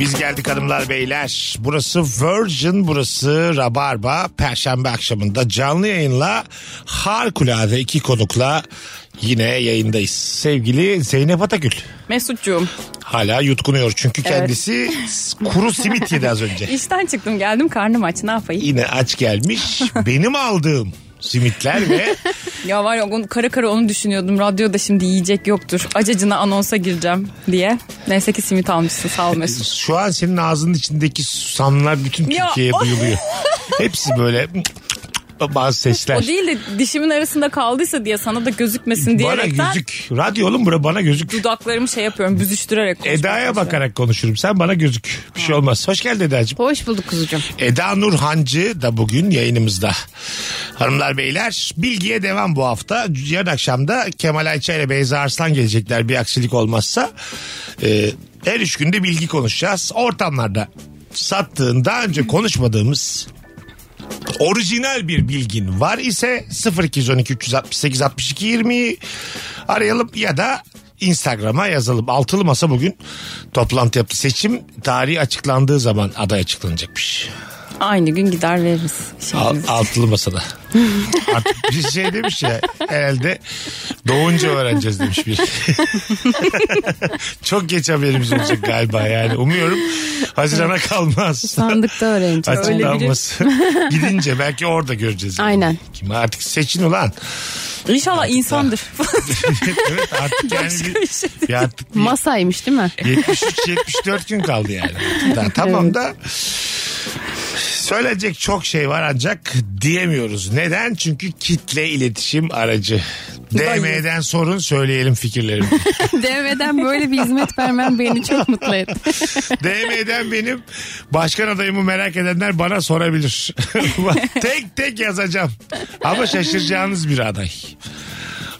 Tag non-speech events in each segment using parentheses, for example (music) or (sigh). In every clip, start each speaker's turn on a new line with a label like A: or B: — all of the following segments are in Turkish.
A: Biz geldik hanımlar beyler. Burası Virgin, burası Rabarba. Perşembe akşamında canlı yayınla harikulade iki konukla yine yayındayız. Sevgili Zeynep Atakül.
B: Mesut'cuğum
A: Hala yutkunuyor çünkü
B: Evet.
A: kendisi kuru simit yedi az önce.
B: işten çıktım geldim karnım aç ne yapayım?
A: Yine aç gelmiş. Benim aldığım simitler ve
B: Ya var ya onu- kara kara onu düşünüyordum radyoda şimdi yiyecek yoktur acacına anonsa gireceğim diye. Neyse ki simit almışsın sağ ol Mesut.
A: şu an senin ağzının içindeki susamlar bütün
B: Ya,
A: Türkiye'ye
B: o-
A: duyuluyor. Hepsi böyle bazı sesler.
B: O değil de dişimin arasında kaldıysa diye sana da gözükmesin
A: Bana
B: diyerekten
A: gözük. Radyo oğlum bura bana gözük.
B: dudaklarımı şey yapıyorum büzüştürerek konuşmaya
A: Eda'ya
B: çalışıyorum.
A: bakarak konuşurum. Sen bana gözük. Bir şey olmaz. Hoş geldin Eda'cığım.
C: Hoş bulduk kuzucuğum.
A: Eda Nurhancı da bugün yayınımızda. Hanımlar beyler bilgiye devam bu hafta. Yarın akşam da Kemal Ayça ile Beyza Arslan gelecekler bir aksilik olmazsa. Ee, her üç günde bilgi konuşacağız. Ortamlarda sattığın daha önce konuşmadığımız orijinal bir bilgin var ise 0212 368 62 20 arayalım ya da Instagram'a yazalım. Altılı Masa bugün toplantı yaptı. Seçim tarihi açıklandığı zaman aday açıklanacakmış.
B: Aynı gün gider veririz. Şey
A: Al-
B: şeyimizi.
A: altılı masada. (laughs) Artık bir şey demiş ya herhalde doğunca öğreneceğiz demiş bir. (laughs) Çok geç haberimiz olacak galiba yani umuyorum Haziran'a kalmaz. (laughs)
C: Sandıkta öğreneceğiz.
B: Öyle biri-
A: Açıklanması. (laughs) Gidince belki orada göreceğiz. yani.
C: Aynen.
A: Kim artık seçin ulan. (laughs)
B: İnşallah insandır.
A: evet artık yani bir,
B: bir şey
A: bir artık bir (laughs)
C: Masaymış değil mi?
A: 73 74 gün kaldı yani. Daha tamam da söyleyecek çok şey var ancak diyemiyoruz. Neden? Çünkü kitle iletişim aracı. DM'den sorun söyleyelim fikirlerimi.
C: DM'den böyle bir hizmet vermen beni çok mutlu etti. (laughs)
A: DM'den benim başkan adayımı merak edenler bana sorabilir. (laughs) tek tek yazacağım. Ama şaşıracağınız bir aday.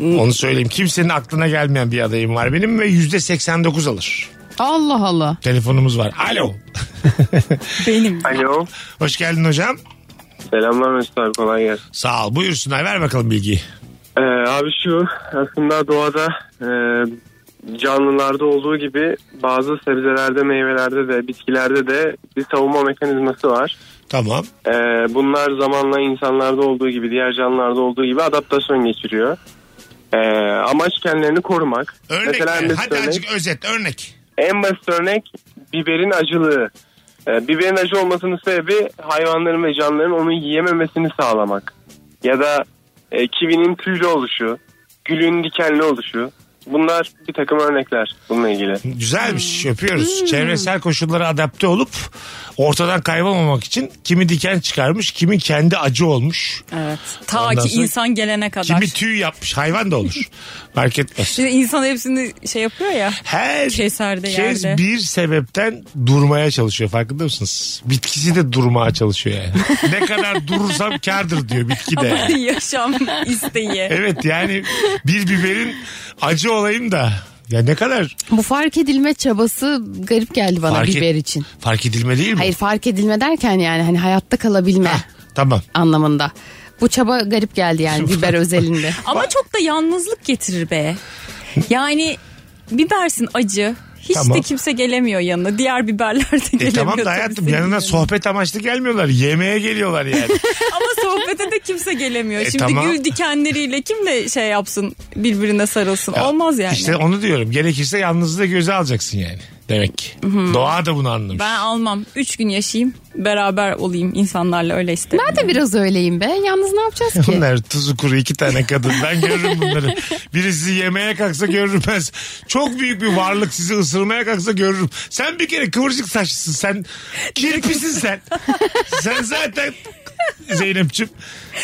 A: Onu söyleyeyim. Kimsenin aklına gelmeyen bir adayım var benim ve yüzde 89 alır.
C: Allah Allah.
A: Telefonumuz var. Alo.
B: Benim.
D: Alo.
A: Hoş geldin hocam.
D: Selamlar Mesut abi kolay gelsin.
A: Sağ ol. Buyursunlar. Ver bakalım bilgiyi.
D: Ee, abi şu aslında doğada e, canlılarda olduğu gibi bazı sebzelerde, meyvelerde de, bitkilerde de bir savunma mekanizması var.
A: Tamam.
D: Ee, bunlar zamanla insanlarda olduğu gibi, diğer canlılarda olduğu gibi adaptasyon geçiriyor. Ee, amaç kendilerini korumak.
A: Örnek ver.
D: en basit
A: Hadi azıcık özet. Örnek.
D: En basit örnek biberin acılığı. Ee, biberin acı olmasının sebebi hayvanların ve canlıların onu yiyememesini sağlamak. Ya da e, kivinin tüylü oluşu, gülün dikenli oluşu. Bunlar bir takım örnekler bununla ilgili.
A: Güzelmiş. Öpüyoruz. Çevresel koşullara adapte olup ortadan kaybolmamak için kimi diken çıkarmış, kimi kendi acı olmuş,
B: Evet. Ta
A: Ondan
B: ki
A: sonra-
B: insan gelene kadar.
A: kimi tüy yapmış. Hayvan da olur. Fark etmez.
B: Şimdi insan hepsini şey yapıyor ya.
A: Her
B: Keser de
A: kez
B: yerde.
A: bir sebepten durmaya çalışıyor. Farkında mısınız? Bitkisi de durmaya çalışıyor yani. ne kadar durursam kardır diyor bitki de. yani.
B: (laughs) Yaşam
A: (laughs)
B: isteği.
A: Evet yani bir biberin acı olayım da. Ya ne kadar
C: Bu fark edilme çabası garip geldi bana
A: Fark et-
C: biber için.
A: fark edilme değil mi?
C: Hayır fark edilme derken yani hani hayatta kalabilme
A: Heh, tamam.
C: anlamında. Bu çaba garip geldi yani
A: (laughs)
C: biber özelinde.
B: Ama çok da yalnızlık getirir be. Yani bibersin acı. Hiç
A: Tamam.
B: de kimse gelemiyor yanına. Diğer biberler de (laughs)
A: E
B: gelemiyor.
A: tamam da
B: tabii
A: hayatım
B: senin
A: yanına
B: yanına.
A: sohbet amaçlı gelmiyorlar. Yemeğe geliyorlar
B: (laughs)
A: yani.
B: Ama sohbete de kimse gelemiyor.
A: E
B: Şimdi
A: tamam.
B: gül dikenleriyle kimle şey yapsın birbirine sarılsın. Olmaz yani.
A: İşte onu diyorum. Gerekirse yalnızlığı da göze alacaksın yani. Demek ki. Doğa da bunu anlamış.
B: Ben almam. Üç gün yaşayayım. Beraber olayım insanlarla öyle isterim.
C: Ben de biraz öyleyim be. Yalnız ne yapacağız ki?
A: (laughs) Bunlar tuzu kuru iki tane kadın. Ben
B: (laughs)
A: görürüm bunları. Birisi yemeğe kalksa görürüm ben. Çok büyük bir varlık sizi ısırmaya kalksa görürüm. Sen bir kere kıvırcık saçlısın sen. Kirpisin sen. sen zaten Zeynep'ciğim.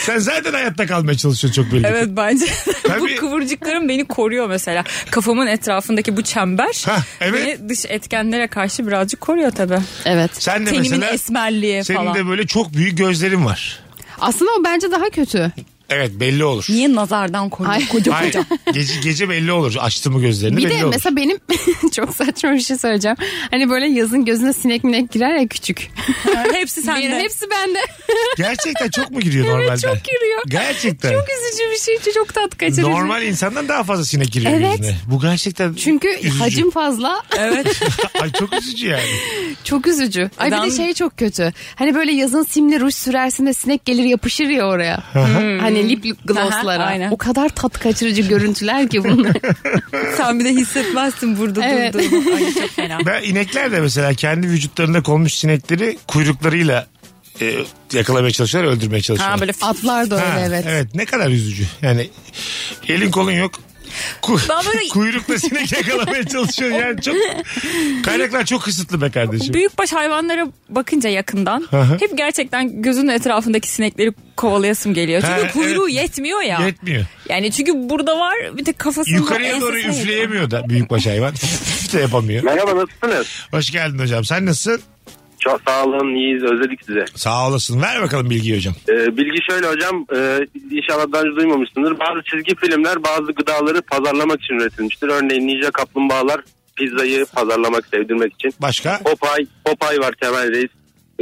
A: Sen zaten hayatta kalmaya çalışıyorsun çok belli. ki.
B: Evet bence (laughs)
A: Tabii.
B: bu kıvırcıklarım beni koruyor mesela. Kafamın etrafındaki bu çember
A: Hah, evet.
B: beni dış etkenlere karşı birazcık koruyor tabii.
C: Evet.
A: Sen de
B: Tenimin
A: mesela
B: esmerliği
A: senin
B: falan.
A: de böyle çok büyük gözlerin var.
C: Aslında o bence daha kötü.
A: Evet belli olur.
B: Niye nazardan koruyor?
C: Ay. (laughs)
B: Koca
A: Hayır,
B: koca.
A: gece, gece belli olur. Açtı mı gözlerini
C: Bir
A: belli
C: de
A: olur.
C: mesela benim (laughs) çok saçma bir şey söyleyeceğim. Hani böyle yazın gözüne sinek minek girer ya küçük.
B: (laughs) Hepsi
C: Bir-
B: sende.
C: hepsi bende.
A: Gerçekten çok mu giriyor normalden?
C: (laughs) evet çok giriyor.
A: Gerçekten.
C: Çok üzücü bir şey. Çok tat kaçırıcı.
A: Normal insandan daha fazla sinek giriyor
C: Evet.
A: gözüne. Bu gerçekten
C: Çünkü
A: üzücü.
C: hacim fazla.
B: Evet.
A: (laughs) Ay çok üzücü yani.
C: Çok üzücü. Ay bir
B: Ben-
C: de şey çok kötü. Hani böyle yazın simli ruj sürersin de sinek gelir yapışır ya oraya. Hani lip glosslara.
B: Aha, aynen.
C: O kadar tat kaçırıcı görüntüler ki
B: (laughs)
C: bunlar.
B: Sen bir de hissetmezsin burada
C: Evet.
B: durduğunu. Ay çok fena.
A: Ben inekler de mesela kendi vücutlarına konmuş sinekleri kuyruklarıyla e, yakalamaya çalışıyorlar, öldürmeye çalışıyorlar.
B: Ha böyle
C: Atlar da öyle
A: Ha,
C: evet.
A: ne kadar üzücü. Yani elin kolun yok. Ku (laughs)
B: Ben böyle-
A: Kuyrukla sinek yakalamaya çalışıyor. Yani çok kaynaklar çok kısıtlı be kardeşim.
B: Büyükbaş hayvanlara bakınca yakından
A: hı.
B: hep gerçekten gözünün etrafındaki sinekleri kovalayasım geliyor. Çünkü
A: Ha,
B: kuyruğu yetmiyor ya.
A: Yetmiyor.
B: yani çünkü burada var bir tek kafasında
A: Yukarıya doğru
B: ensesine
A: üfleyemiyor da büyükbaş hayvan. (laughs) de yapamıyor.
D: Merhaba nasılsınız?
A: Hoş geldin hocam. Sen nasılsın?
D: Çok sağ olun iyiyiz özledik sizi.
A: Sağ olasın. Ver bakalım bilgiyi hocam.
D: Ee, bilgi şöyle hocam e, inşallah daha önce duymamışsındır. Bazı çizgi filmler bazı gıdaları pazarlamak için üretilmiştir. Örneğin Ninja Kaplumbağalar pizzayı pazarlamak sevdirmek için.
A: Başka?
D: Popeye, Popeye var Temel Reis.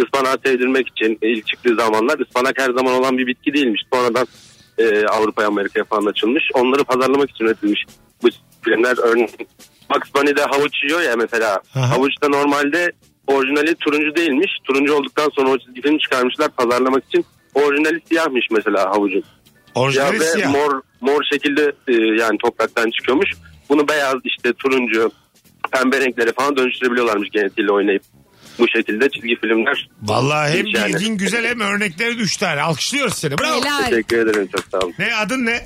D: Ispanağı sevdirmek için e, ilk çıktığı zamanlar ıspanak her zaman olan bir bitki değilmiş. Sonradan e, Avrupa'ya Amerika'ya falan açılmış. Onları pazarlamak için üretilmiş bu filmler. Örneğin Bugs Bunny de havuç yiyor ya mesela.
A: Aha.
D: Havuç da normalde orijinali turuncu değilmiş. Turuncu olduktan sonra o çizgi filmi çıkarmışlar pazarlamak için. Orijinali siyahmış mesela havucun. Siyah
A: Orijinali
D: ve
A: siyah.
D: mor mor şekilde e, yani topraktan çıkıyormuş. Bunu beyaz işte turuncu pembe renklere falan dönüştürebiliyorlarmış genetiğiyle oynayıp. Bu şekilde çizgi filmler.
A: Vallahi hem
D: Hiç yani.
A: bilgin güzel hem örneklerin 3 tane. Alkışlıyoruz seni. Bravo.
C: Helal.
D: Teşekkür ederim çok sağ olun.
A: Ne adın ne?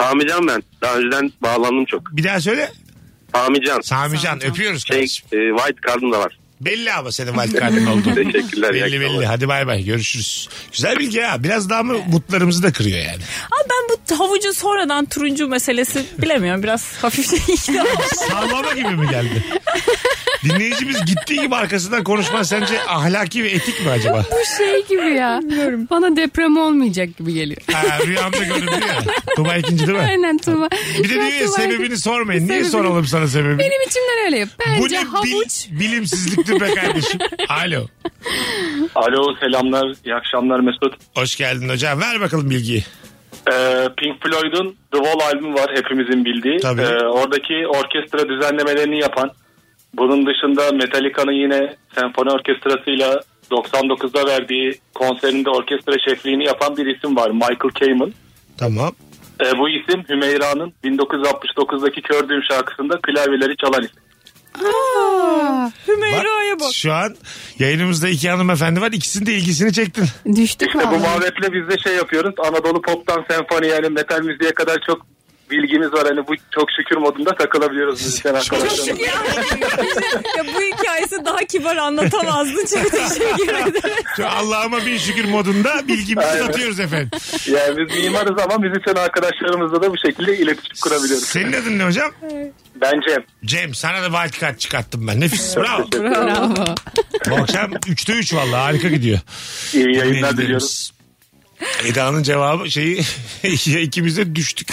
D: Sami Can ben. Daha önceden bağlandım çok.
A: Bir daha söyle.
D: Sami Can.
A: Samican öpüyoruz
D: Şey,
A: kardeşim.
D: e, white card'ım da var.
A: Belli ama senin validkartın oldu.
D: Teşekkürler. iyi
A: belli
D: akşamlar.
A: belli. Hadi bay bay görüşürüz. Güzel bilgi ya. Biraz daha mı mutlarımızı da kırıyor
C: (laughs)
A: yani.
B: Ama ben bu havucun sonradan turuncu meselesi bilemiyorum. Biraz hafif şey.
A: (laughs) Sallama gibi mi geldi? Dinleyicimiz gittiği gibi arkasından konuşma sence ahlaki ve etik mi acaba?
C: Bu şey gibi ya. Bana deprem olmayacak gibi geliyor.
A: Ha, rüyamda göründü ya. Tuba ikinci değil mi?
C: Aynen Tuba.
A: Bir de diyor ya sebebini sormayın. Niye
C: Sebebini-
A: soralım sana sebebini?
C: Benim içimden öyle yap.
A: Bu
C: Bence
A: ne
C: havuç.
A: bil- bilimsizliktir be
C: (laughs)
A: kardeşim. Alo.
E: Alo selamlar iyi akşamlar Mesut.
A: Hoş geldin hocam. Ver bakalım bilgiyi.
E: Ee, Pink Floyd'un The Wall albümü var hepimizin bildiği.
A: Tabii.
E: Ee, oradaki orkestra düzenlemelerini yapan. Bunun dışında Metallica'nın yine senfoni orkestrasıyla 99'da verdiği konserinde orkestra şefliğini yapan bir isim var Michael Kamen.
A: Tamam.
E: Ee, bu isim Hümeyra'nın 1969'daki Kör Düğüm şarkısında klavyeleri çalan isim.
B: Hümeyra'ya bak.
A: Şu an yayınımızda iki hanımefendi var. İkisinin de ilgisini çektin.
C: Düştük
E: İşte bu
C: vallahi.
E: muhabbetle biz de şey yapıyoruz. Anadolu pop'tan senfoni yani metal müziğe kadar çok bilgimiz var. Hani bu çok şükür modunda takılabiliyoruz müzisyen arkadaşlarımız.
B: ya, ya bu hikayesi daha kibar anlatamazdın. Çok teşekkür ederim.
A: Şu Allah'ıma bin şükür modunda bilgimizi
E: Aynen.
A: satıyoruz efendim.
E: Yani biz mimarız ama müzisyen arkadaşlarımızla da bu şekilde iletişim kurabiliyoruz.
A: Senin adın ne hocam?
E: Bence
A: Cem sana da wild card çıkarttım ben. Nefis. Bravo.
C: Bravo.
A: Bu akşam 3'te 3 vallahi harika gidiyor.
E: iyi yayınlar diliyoruz.
A: Eda'nın cevabı şeyi (laughs) ikimiz de düştük.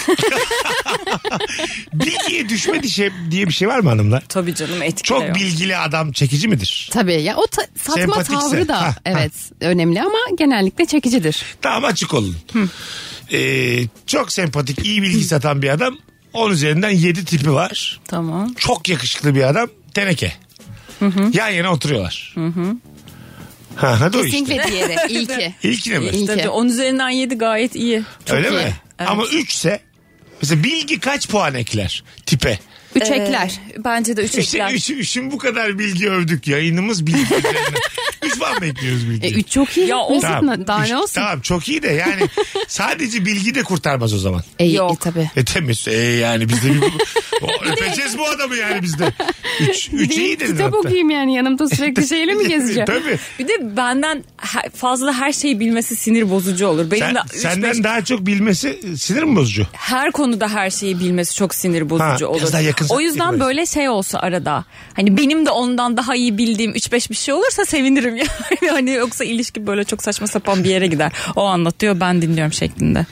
A: Bilgiye düşme dişe diye bir şey var mı hanımlar?
B: Tabii canım etkili.
A: Çok
B: yok.
A: bilgili adam çekici midir?
C: Tabii ya o ta- satma
A: Sempatikse.
C: tavrı da
A: Ha, ha.
C: evet önemli ama genellikle çekicidir.
A: Tamam açık olun. Ee, çok sempatik, iyi bilgi satan bir adam. 10 üzerinden 7 tipi var.
B: Tamam.
A: Çok yakışıklı bir adam. Teneke. Yan yana oturuyorlar. Ha, hadi o işte.
C: Kesinlikle diğeri
B: (laughs)
C: ilki.
A: İlkine mi?
C: İlki.
B: Tabii 10 üzerinden 7 gayet iyi.
A: Öyle
C: iyi.
A: mi? Ama 3 ise mesela bilgi kaç puan ekler tipe?
C: Üçekler.
B: Ee, bence de
A: İşte
B: üçekler.
A: üç, üçün bu kadar bilgi övdük. Yayınımız
C: (laughs)
A: bilgi üzerine. Üç puan bekliyoruz bilgi.
C: E, üç çok iyi.
B: Ya
C: Mesut,
B: olsun
C: na- daha
A: üç-
C: ne olsun?
A: Tamam çok iyi de yani sadece bilgi de kurtarmaz o zaman.
C: E, iyi
B: Yok.
C: tabii.
A: E temiz. E yani biz de bir,
C: (laughs)
A: o, öpeceğiz bu adamı yani biz de. Üç, üç iyi dedin
C: kitap
A: hatta.
C: okuyayım yani yanımda
A: (laughs)
C: sürekli şeyle mi gezeceğim?
A: Tabii.
B: Bir de benden he- fazla her şeyi bilmesi sinir bozucu olur. Benim
A: Sen,
B: de üç, beş-
A: senden daha çok bilmesi e, sinir mi bozucu?
B: her konuda her şeyi bilmesi çok sinir
A: Ha,
B: bozucu olur.
A: biraz daha yakın yakın.
B: O yüzden
A: yakın-
B: böyle şey olsa arada. Hani benim de ondan daha iyi bildiğim 3-5 bir şey olursa sevinirim (laughs) yani. Hani yoksa ilişki böyle çok saçma sapan bir yere gider. O anlatıyor ben dinliyorum şeklinde.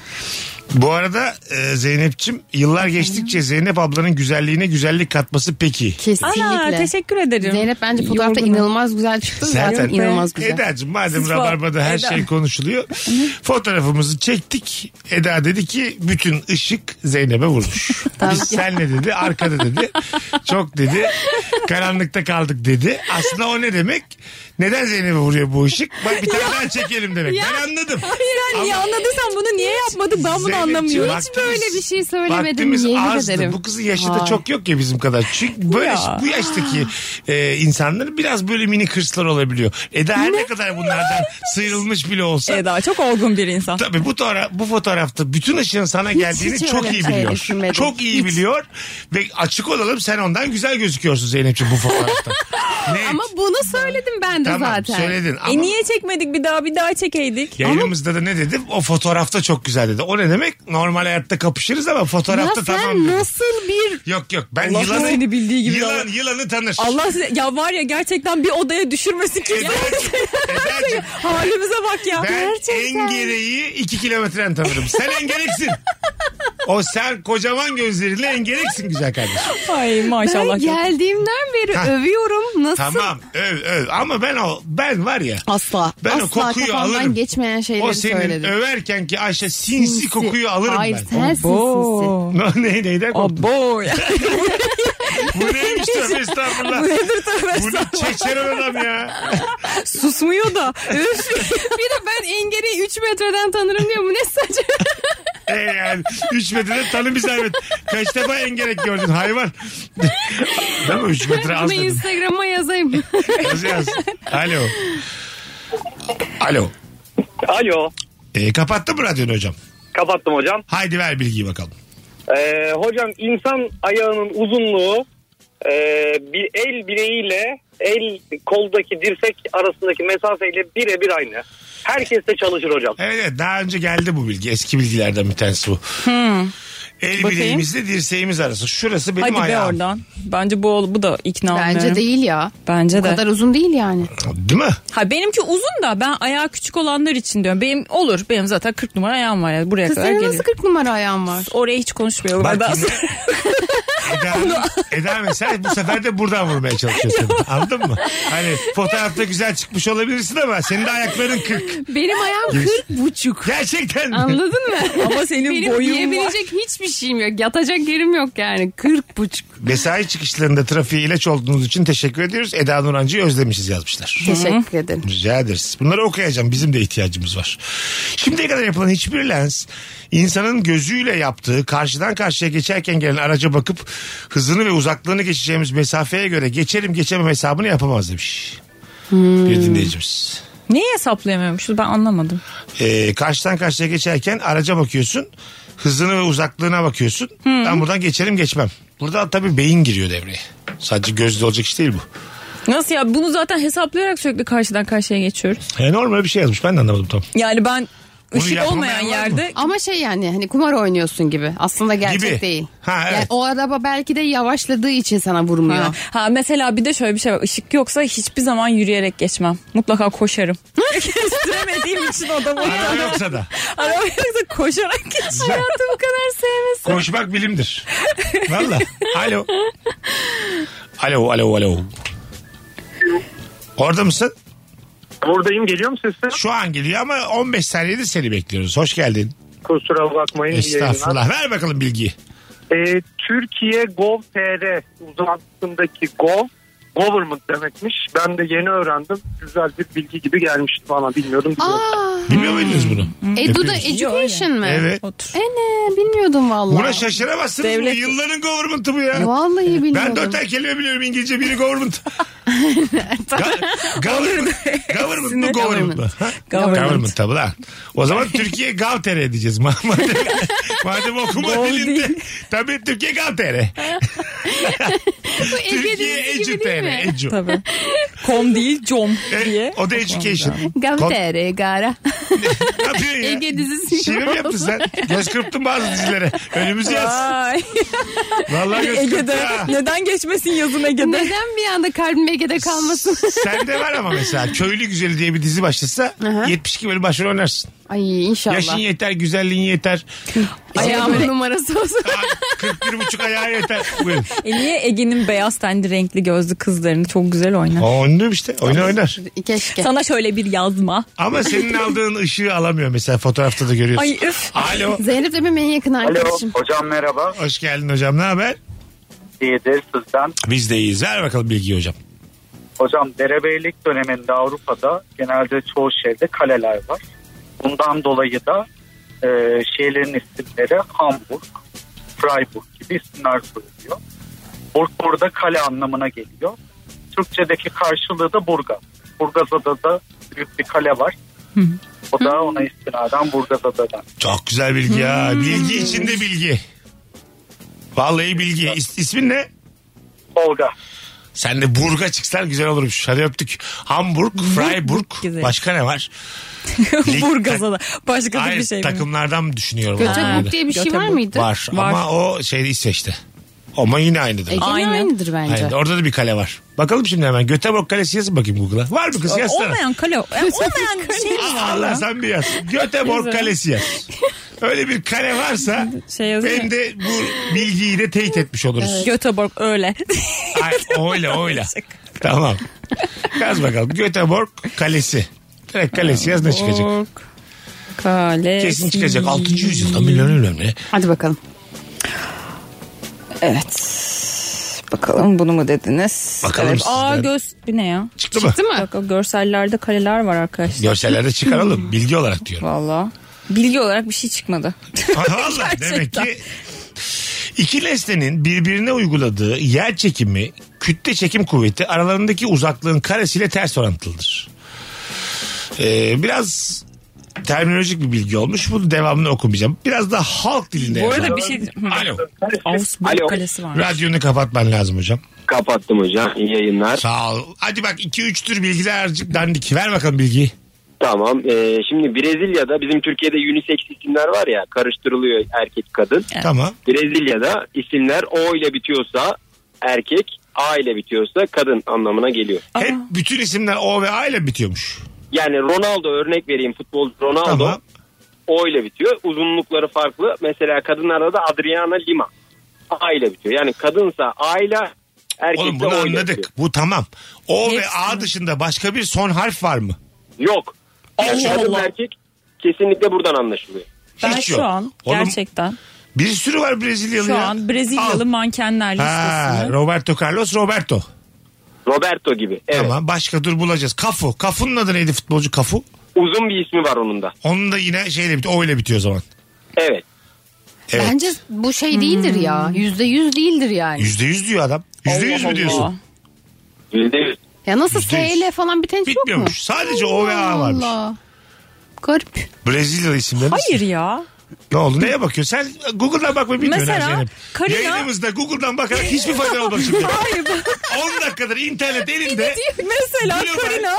A: Bu arada e, Zeynep'çim yıllar geçtikçe Zeynep ablanın güzelliğine güzellik katması peki.
C: Kesinlikle.
B: Ana teşekkür ederim.
C: Zeynep bence fotoğrafta
B: Yorgunum.
C: inanılmaz güzel çıktı. Zaten,
A: Zaten-
C: inanılmaz güzel.
A: Eda'cığım madem
B: Siz
A: Rabarba'da her
B: Eda.
A: şey konuşuluyor. Fotoğrafımızı çektik. Eda dedi ki bütün ışık Zeynep'e
B: (laughs)
A: vurmuş. Biz senle dedi arkada dedi. Çok dedi. Karanlıkta kaldık dedi. Aslında o ne demek? Neden Zeynep'e vuruyor bu ışık? Bak bir tane daha çekelim demek. Ben anladım.
B: Hayır niye anladıysan bunu niye yapmadık ben bunu
A: Zeynep'ciğim,
B: anlamıyorum.
A: vaktimiz-
C: böyle bir şey söylemedim,
A: Vaktimiz
C: yemin
A: azdı.
C: ederim.
A: Bu kızın yaşı da çok yok ya bizim kadar. Çünkü böyle
B: Ya.
A: bu yaştaki e, insanlar biraz böyle mini hırslar olabiliyor. Eda her ne kadar bunlardan sıyrılmış bile olsa.
B: Eda çok olgun bir insan. E
A: Tabii bu, fotoğraf, bu fotoğrafta bütün ışığın sana geldiğini
C: hiç
A: çok
C: öyle
A: iyi
C: şey
A: biliyor.
C: düşünmedim.
A: çok iyi biliyor ve açık olalım sen ondan güzel gözüküyorsun Zeynep'ciğim bu
C: (laughs)
A: fotoğrafta. ne?
C: Ama bunu söyledim ben de
A: tamam
C: zaten.
A: söyledin ama
B: E niye çekmedik bir daha bir daha çekeydik.
A: yayınımızda da ne dedim? O fotoğrafta çok güzel dedi. O ne demek? Normal hayatta kapışırız ama
C: Ya
A: fotoğrafta
C: sen
A: tamam dedim.
C: nasıl bir...
A: Yok yok ben
B: Allah
A: yılanı
B: seni bildiği gibi
A: yılan,
B: davran-
A: yılanı tanır.
B: Allah size, ya var ya gerçekten bir odaya düşürmesin ki. (laughs)
A: Eda'cığım, Eda'cığım,
B: Halimize bak ya.
A: E ben engereyi iki kilometreden tanırım. Sen engereksin. O sen kocaman gözlerinle engereksin güzel kardeşim.
B: Ay maşallah.
C: Ben geldiğimden beri
A: Hah.
C: övüyorum. Nasıl?
A: Tamam öv öv ama ben o ben var ya
C: Asla.
A: ben
C: asla
A: o kokuyu
C: kafamdan
A: alırım.
C: geçmeyen şeyleri
A: o senin
C: söyledim.
A: överken ki Ayşe sinsi, kokuyu alırım
C: Hayır,
A: ben.
C: Hayır sensin sinsi.
A: Ne, ne, neyden korktun?
B: Abo ya.
A: Bu neymiş tövbe estağfurullah.
B: Bu nedir tövbe
A: Bu ne çeçeren adam ya.
B: Susmuyor da. Üf.
C: (laughs) bir de ben Enger'i 3 metreden tanırım diyor. Bu ne saçma.
A: E yani 3 metrede tanı bir zahmet. Kaç defa engerek gördün
B: (laughs)
A: hayvan. Değil mi 3 metre az
C: Bunu
A: dedim.
C: Instagram'a yazayım.
A: Az yaz. Alo. Alo.
F: Alo.
A: E, kapattın mı radyonu hocam?
F: Kapattım hocam.
A: Haydi ver bilgiyi bakalım.
F: Ee, hocam insan ayağının uzunluğu e, bir el bileğiyle el koldaki dirsek arasındaki mesafeyle birebir aynı. Herkes de çalışır hocam.
A: Evet evet daha önce geldi bu bilgi. Eski bilgilerden bir tanesi bu. El
B: Hmm. Bakayım.
A: bileğimizle dirseğimiz arası. Şurası benim
B: Hadi be
A: ayağım.
B: oradan. Bence bu ol- bu da ikna
C: Bence
B: olmuyorum.
C: değil ya.
B: Bence
C: Bu
B: de.
C: kadar uzun değil yani.
A: Değil mi?
B: Ha benimki uzun da ben ayağı küçük olanlar için diyorum. Benim olur. Benim zaten 40 numara ayağım var ya. Buraya
C: Kız
B: kadar
C: senin nasıl
B: geliyor.
C: 40 numara ayağın var?
B: Oraya hiç konuşmuyorum.
A: Bak
B: Ben-
A: (laughs) yine-
B: (laughs)
A: Eda, Eda mesela bu sefer de buradan vurmaya çalışıyorsun. Anladın mı? Hani fotoğrafta güzel çıkmış olabilirsin ama senin de ayakların 40.
C: Benim ayağım 40 buçuk.
A: Gerçekten. (laughs)
C: Anladın mı?
B: Ama senin
C: Benim
B: boyun var.
C: yiyebilecek hiçbir şeyim yok. Yatacak yerim yok yani. 40 buçuk.
A: Mesai çıkışlarında trafiğe ilaç olduğunuz için teşekkür ediyoruz. Eda Nurancı'yı özlemişiz yazmışlar.
C: Teşekkür ederim.
A: Rica ederiz. Bunları okuyacağım. Bizim de ihtiyacımız var. Şimdiye kadar yapılan hiçbir lens insanın gözüyle yaptığı karşıdan karşıya geçerken gelen araca bakıp hızını ve uzaklığını geçeceğimiz mesafeye göre geçerim geçemem hesabını yapamaz demiş. Bir dinleyicimiz.
B: Neyi hesaplayamıyormuşuz ben anlamadım.
A: Ee, karşıdan karşıya geçerken araca bakıyorsun. Hızını ve uzaklığına bakıyorsun. Ben buradan geçerim geçmem. Burada tabii beyin giriyor devreye. Sadece gözle olacak iş değil bu.
B: Nasıl ya bunu zaten hesaplayarak sürekli karşıdan karşıya geçiyoruz.
A: E, normal bir şey yazmış. Ben de anlamadım tam.
B: Yani ben
A: Bunu
B: ışık
A: yapamayan
B: olmayan
A: var mı?
B: yerde
C: Ama şey yani hani kumar oynuyorsun gibi. Aslında gerçek
A: Gibi.
C: değil.
A: Ha, evet.
C: Yani o araba belki de yavaşladığı için sana vurmuyor.
B: Ha. ha mesela bir de şöyle bir şey var. Işık yoksa hiçbir zaman yürüyerek geçmem. Mutlaka (laughs) koşarım. Kestiremediğim için o da
A: Araba
B: mutlaka.
A: yoksa da.
B: Araba yoksa koşarak geçerim. Hayatı bu kadar sevmesin.
A: Konuşmak bilimdir. Valla. Alo. Alo, alo, alo. Orada mısın?
F: Buradayım geliyor mu sesim?
A: Şu an geliyor ama 15 saniyedir seni bekliyoruz. Hoş geldin.
F: Kusura bakmayın. iyi yayınlar.
A: Estağfurullah. Ver bakalım bilgiyi.
F: Ee, Türkiye Gov.tr uzantısındaki Gov government demekmiş. Ben de yeni öğrendim. Güzel bir bilgi gibi gelmişti bana bilmiyordum.
C: Aa,
A: Bilmiyor muydunuz bunu?
C: Edu E, da
A: Hepimiz.
C: education mı?
A: Evet.
B: Otur.
C: Ene bilmiyordum vallahi.
A: Buna şaşıramazsınız.
B: Devlet-
A: Bu yılların government'ı bu ya.
C: Vallahi bilmiyordum.
A: Ben dört tane kelime biliyorum İngilizce biri
C: (laughs)
A: government. Ga- government, government mu government mu? Ha?
B: Government.
A: Government tabi lan. O zaman Türkiye Gavter edeceğiz. Ma- (laughs) Madem, madem okuma
B: Gov
A: dilinde.
B: değil.
A: Tabii Türkiye Gavter.
C: Bu Ege
A: Türkiye
C: Denizi gibi
A: Ecu
C: değil mi?
B: (laughs)
A: TR. Ecu.
B: Tabii. Com değil com diye.
A: E, o da education. (laughs) Kon-
C: Gavtere gara.
A: ne yapıyorsun ya?
C: Ege dizisi.
A: Şive mi yaptın sen? Göz kırptın bazı dizilere. Önümüzü yaz.
B: Ay,
A: Vallahi göz kırptın
B: Ege'de.
A: ha.
B: Neden geçmesin yazın Ege'de?
C: Neden bir anda kalbim Ege'de kalmasın?
A: Sende var ama mesela Köylü Güzeli diye bir dizi başlasa 72 bölüm başrol oynarsın.
C: Ay
A: Yaşın
C: inşallah.
A: yeter, güzelliğin yeter.
C: Ayağımın numarası olsun.
B: (laughs)
A: Aa, 41 buçuk ayağı yeter. Buyurun.
B: E niye Ege'nin beyaz tenli renkli gözlü kızlarını çok güzel oynar?
A: O ünlüyüm işte. Oynar oynar.
C: (laughs) Keşke.
B: Sana şöyle bir yazma.
A: Ama senin aldığın ışığı alamıyor mesela fotoğrafta da görüyorsun.
B: Ay üf.
A: Alo.
C: Zeynep de benim en yakın arkadaşım.
G: hocam merhaba.
A: Hoş geldin hocam. Ne haber?
G: İyidir sizden.
A: Biz de iyiyiz. Ver bakalım bilgiyi hocam.
G: Hocam derebeylik döneminde Avrupa'da genelde çoğu şehirde kaleler var. Bundan dolayı da e, şehirlerin isimleri Hamburg, Freiburg gibi isimler koyuluyor. Burg burada kale anlamına geliyor. Türkçedeki karşılığı da Burgaz. Burgazada da büyük bir kale var. O da ona istinaden Burgazada'dan.
A: Çok güzel bilgi ya.
B: Hmm.
A: Bilgi içinde bilgi. Vallahi bilgi. İs- ismin ne?
G: Olga.
A: Sen de Burg'a çıksan güzel olurmuş. Hadi öptük. Hamburg, Freiburg.
B: güzel.
A: Başka ne var? Lig-
B: (laughs) Burgaz'a da. Başka da
A: Hayır,
B: bir şey mi?
A: takımlardan düşünüyorum.
C: Göteborg diye bir şey var
B: Göteborg.
C: mıydı?
A: Var.
B: Var.
A: Ama o şeyde İsveç'te. Ama yine aynıdır.
C: Ege'nin
B: Aynı.
C: aynıdır bence.
A: Aynı. Orada da bir kale var. Bakalım şimdi hemen. Göteborg Kalesi yazın bakayım Google'a. Var mı kız yazsana.
B: Olmayan kale. Yani olmayan şey mi
A: Aa,
B: var
A: Allah
B: ya?
A: sen bir yaz. Göteborg
B: Yazarım.
A: Kalesi yaz. Öyle bir kale varsa
B: Şey yazıyor.
A: hem de bu bilgiyi de teyit etmiş oluruz.
B: Göteborg öyle.
A: Ay, öyle
B: (laughs)
A: öyle. tamam. Yaz bakalım. Göteborg Kalesi. Direkt kalesi yaz ne çıkacak?
B: Kale.
A: Kesin çıkacak. 6. yüzyılda milyon önemli.
C: Hadi bakalım.
B: Evet. Bakalım bunu mu dediniz?
A: Bakalım
B: evet.
A: sizden.
B: Aa göz bu ne ya?
A: Çıktı mı?
C: Değil mi?
B: Bak o görsellerde kaleler var arkadaşlar.
A: Görsellerde çıkaralım. Bilgi olarak diyorum.
B: Valla. Bilgi olarak bir
A: (laughs)
B: şey çıkmadı.
A: Valla demek ki iki nesnenin birbirine uyguladığı yer çekimi, kütle çekim kuvveti aralarındaki uzaklığın karesiyle ters orantılıdır. Ee, biraz terminolojik bir bilgi olmuş. Bunu devamını okumayacağım. Biraz da halk dilinde.
B: Bu arada
A: yapalım.
B: bir şey...
A: Alo.
B: Augsburg
H: Alo.
B: kalesi var.
A: Radyonu kapatman lazım hocam.
H: Kapattım hocam. İyi yayınlar.
A: Sağ ol. Hadi bak 2-3 tür bilgiler azıcık dandik. Ver bakalım bilgiyi.
H: Tamam. Ee, şimdi Brezilya'da bizim Türkiye'de unisex isimler var ya karıştırılıyor erkek kadın.
A: Tamam.
H: Brezilya'da isimler O ile bitiyorsa erkek, A ile bitiyorsa kadın anlamına geliyor.
A: Hep bütün isimler O ve A ile bitiyormuş.
H: Yani Ronaldo örnek vereyim futbolcu Ronaldo
A: Tamam.
H: O ile bitiyor. Uzunlukları farklı. Mesela kadınlarda da Adriana Lima A ile bitiyor. Yani kadınsa A ile
A: Oğlum
H: erkekse
A: bunu
H: O ile bitiyor.
A: anladık. Bu tamam. O ve
B: Hepsi.
A: A dışında başka bir son harf var mı?
H: Yok. Yani
B: Allah
H: kadın
B: Allah.
H: erkek kesinlikle buradan anlaşılıyor.
B: Ben
A: Hiç
B: şu
A: yok.
B: an
A: Oğlum,
B: gerçekten
A: Bir sürü var Brezilyalı
B: şu
A: ya.
B: an Brezilyalı
A: Al.
B: mankenler
A: Ha,
B: listesini.
A: Roberto Carlos Roberto.
H: Roberto gibi. Evet.
A: Tamam başka dur bulacağız. Kafu. Kafu'nun adı neydi futbolcu Kafu?
H: Uzun bir ismi var onun da.
A: Onun da yine şeyle bitiyor. O ile bitiyor o zaman.
H: Evet.
A: Evet.
C: Bence bu şey değildir ya. Yüzde yüz değildir yani.
A: Yüzde yüz diyor adam. Yüzde yüz mü
B: Allah.
A: diyorsun?
H: Yüzde yüz.
C: Ya nasıl
A: Yüzde yüz.
C: S ile falan biten hiç yok mu?
A: Bitmiyormuş. Sadece O ve A varmış.
C: Allah. Garip.
A: Brezilyalı isimleri.
B: Hayır ya.
A: Ne oldu? Neye bakıyorsun? Sen Google'dan bakmayı bilmiyorsun
B: Mesela
A: Zeynep.
B: Karina-
A: Yayınımızda Google'dan bakarak hiçbir fayda olmadı
B: (laughs)
A: şimdi.
B: Hayır. bak-
A: 10 dakikadır internet elinde.
B: Mesela
A: Biliyor
B: Karina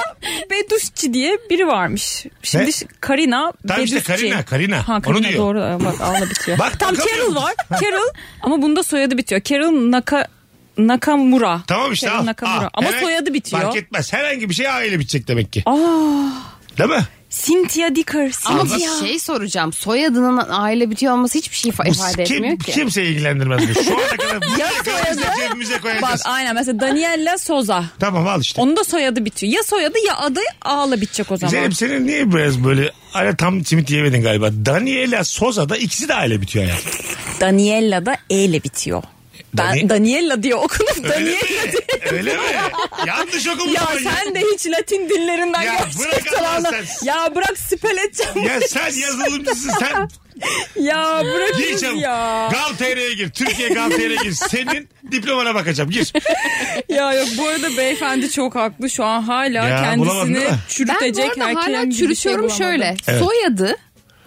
B: Beduşçi diye biri varmış. Şimdi
A: Ne?
B: ş- Karina
A: Tamam işte
B: Beduşçi.
A: Karina, Karina.
B: Ha,
A: Onu
B: Karina
A: diyor.
B: doğru. Ee, Bak ağla bitiyor.
A: Bak,
B: Tam
A: bakamıyorum.
B: Carol
A: (laughs)
B: var. Carol ama bunda soyadı bitiyor. Carol Naka, Nakamura.
A: Tamam işte
B: Carol
A: al.
B: Nakamura.
A: Al.
B: Ama
A: Herhangi-
B: soyadı bitiyor.
A: Fark etmez. Herhangi bir şey A ile bitecek demek ki.
B: Aa,
A: Değil mi?
B: Cynthia Dicker.
C: Ama bir
B: Cynthia.
C: şey soracağım. Soyadının aile bitiyor olması hiçbir şey ifa-
A: Bu
C: ifade
A: kim,
C: etmiyor ki.
A: Kimse ilgilendirmez. bu. Şu ana
B: (laughs)
A: kadar bu
B: Ya
A: yakalarımızı
B: soyadı.
A: cebimize
B: Bak
A: koyacağız.
B: aynen mesela Daniella Soza.
A: Tamam al işte.
B: Onun da soyadı bitiyor. Ya soyadı ya adı A'la bitecek o zaman.
A: Zeynep senin niye biraz böyle ara tam simit yemedin galiba. Daniela Soza'da ikisi de aile bitiyor yani.
B: Daniella da E ile bitiyor. Ben
A: Dani-
B: Daniella diye okudum.
A: Öyle mi?
B: Daniella
A: (laughs)
B: diye.
A: Öyle mi? Yanlış okumuşsun.
B: Ya sen de hiç Latin dillerinden
A: Ya bırak
B: gerçekten
A: Allah
B: anla.
A: sen-
B: Ya bırak spell edeceğim.
A: Ya sen yazılımcısın sen
B: Ya bırak
A: gir çabuk.
B: ya.
A: Gal.tr'ye gir. Türkiye Gal.tr'ye gir. Senin diplomana bakacağım gir.
B: Ya yok bu arada beyefendi çok haklı. Şu an hala
A: Ya, bulamadın
B: kendisini
A: değil mi?
C: Ben bu
B: çürütecek.
C: arada
B: erkeğin
C: hala
B: gibi bir
C: çürütüyorum
B: şey bulamadım.
C: şöyle. Soyadı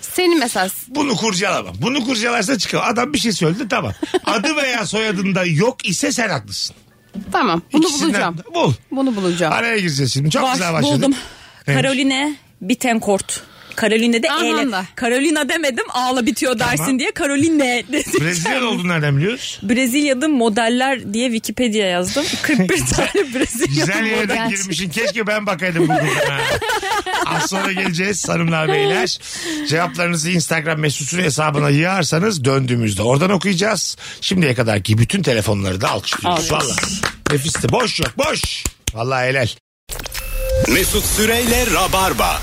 C: seni mesela
A: Bunu kurcalamam. Bunu kurcalarsa çıkar. Adam bir şey söyledi tamam. Adı veya soyadında yok ise sen haklısın.
C: Tamam. Bunu
A: İkisinden-
C: bulacağım.
A: Bul.
C: Bunu bulacağım.
A: Araya gireceğiz şimdi. Çok güzel
B: Var,
A: başladık.
B: buldum.
A: Neymiş?
B: Karoline Bittencourt. Karoline de
C: Aha da.
B: eyle. Karolina demedim ağla bitiyor dersin diye Karoline (laughs) dedim.
A: (laughs) Brezilyalı olduğunu nereden
B: (laughs)
A: biliyoruz?
B: Brezilya'da modeller diye Wikipedia yazdım.
A: (laughs)
B: 41 tane Brezilyalı
A: Güzel yerden
B: model.
A: girmişsin. Keşke ben bakaydım Google'dan. ha. Az sonra geleceğiz hanımlar beyler. Cevaplarınızı Instagram mesut süre hesabına yığarsanız döndüğümüzde oradan okuyacağız. Şimdiye kadarki bütün telefonları da alkışlıyoruz.
B: Alkış.
A: Valla nefisti boş yok boş. Vallahi helal.
I: Mesut Süreyle Rabarba.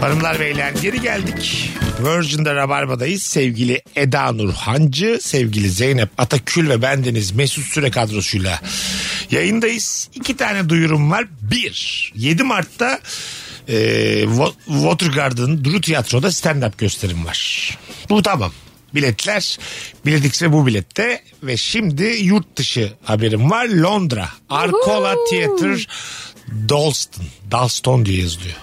A: Hanımlar beyler geri geldik. Virgin'de Rabarba'dayız. Sevgili Eda Nurhancı, sevgili Zeynep Atakül ve bendeniz Mesut Süre kadrosuyla yayındayız. İki tane duyurum var. Bir, 7 Mart'ta e, Wa- Watergarden Duru Tiyatro'da stand-up gösterim var. Bu tamam. Biletler Biletix ve bu bilette ve şimdi yurt dışı haberim var Londra Arcola Theatre Dalston Dalston diye yazılıyor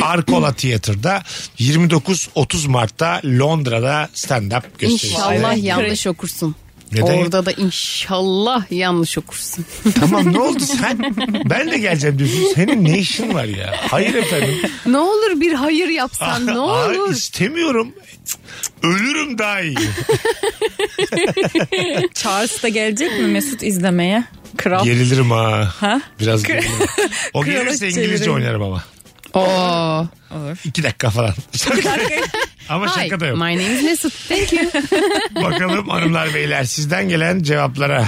A: Arcola Theater'da 29-30 Mart'ta Londra'da stand-up gösterisi.
C: İnşallah
A: Evet.
C: yanlış okursun.
A: Neden?
C: Orada da inşallah yanlış okursun.
A: Tamam ne oldu sen? Ben de geleceğim diyorsun. Senin ne işin var ya? Hayır efendim.
C: ne olur bir hayır
A: Ah,
C: yapsan ne
A: Hayır,
C: olur.
A: istemiyorum. Ölürüm daha iyi.
B: Charles da gelecek mi Mesut izlemeye? Kral.
A: Gerilirim ha.
B: Ha?
A: Biraz gerilirim. O
B: Krala
A: gelirse İngilizce
B: çevirelim.
A: oynarım ama.
C: Oo.
A: İki dakika falan. ama
C: Hi,
A: şaka da yok.
C: my name is Mesut. Thank you.
A: Bakalım hanımlar beyler sizden gelen cevaplara.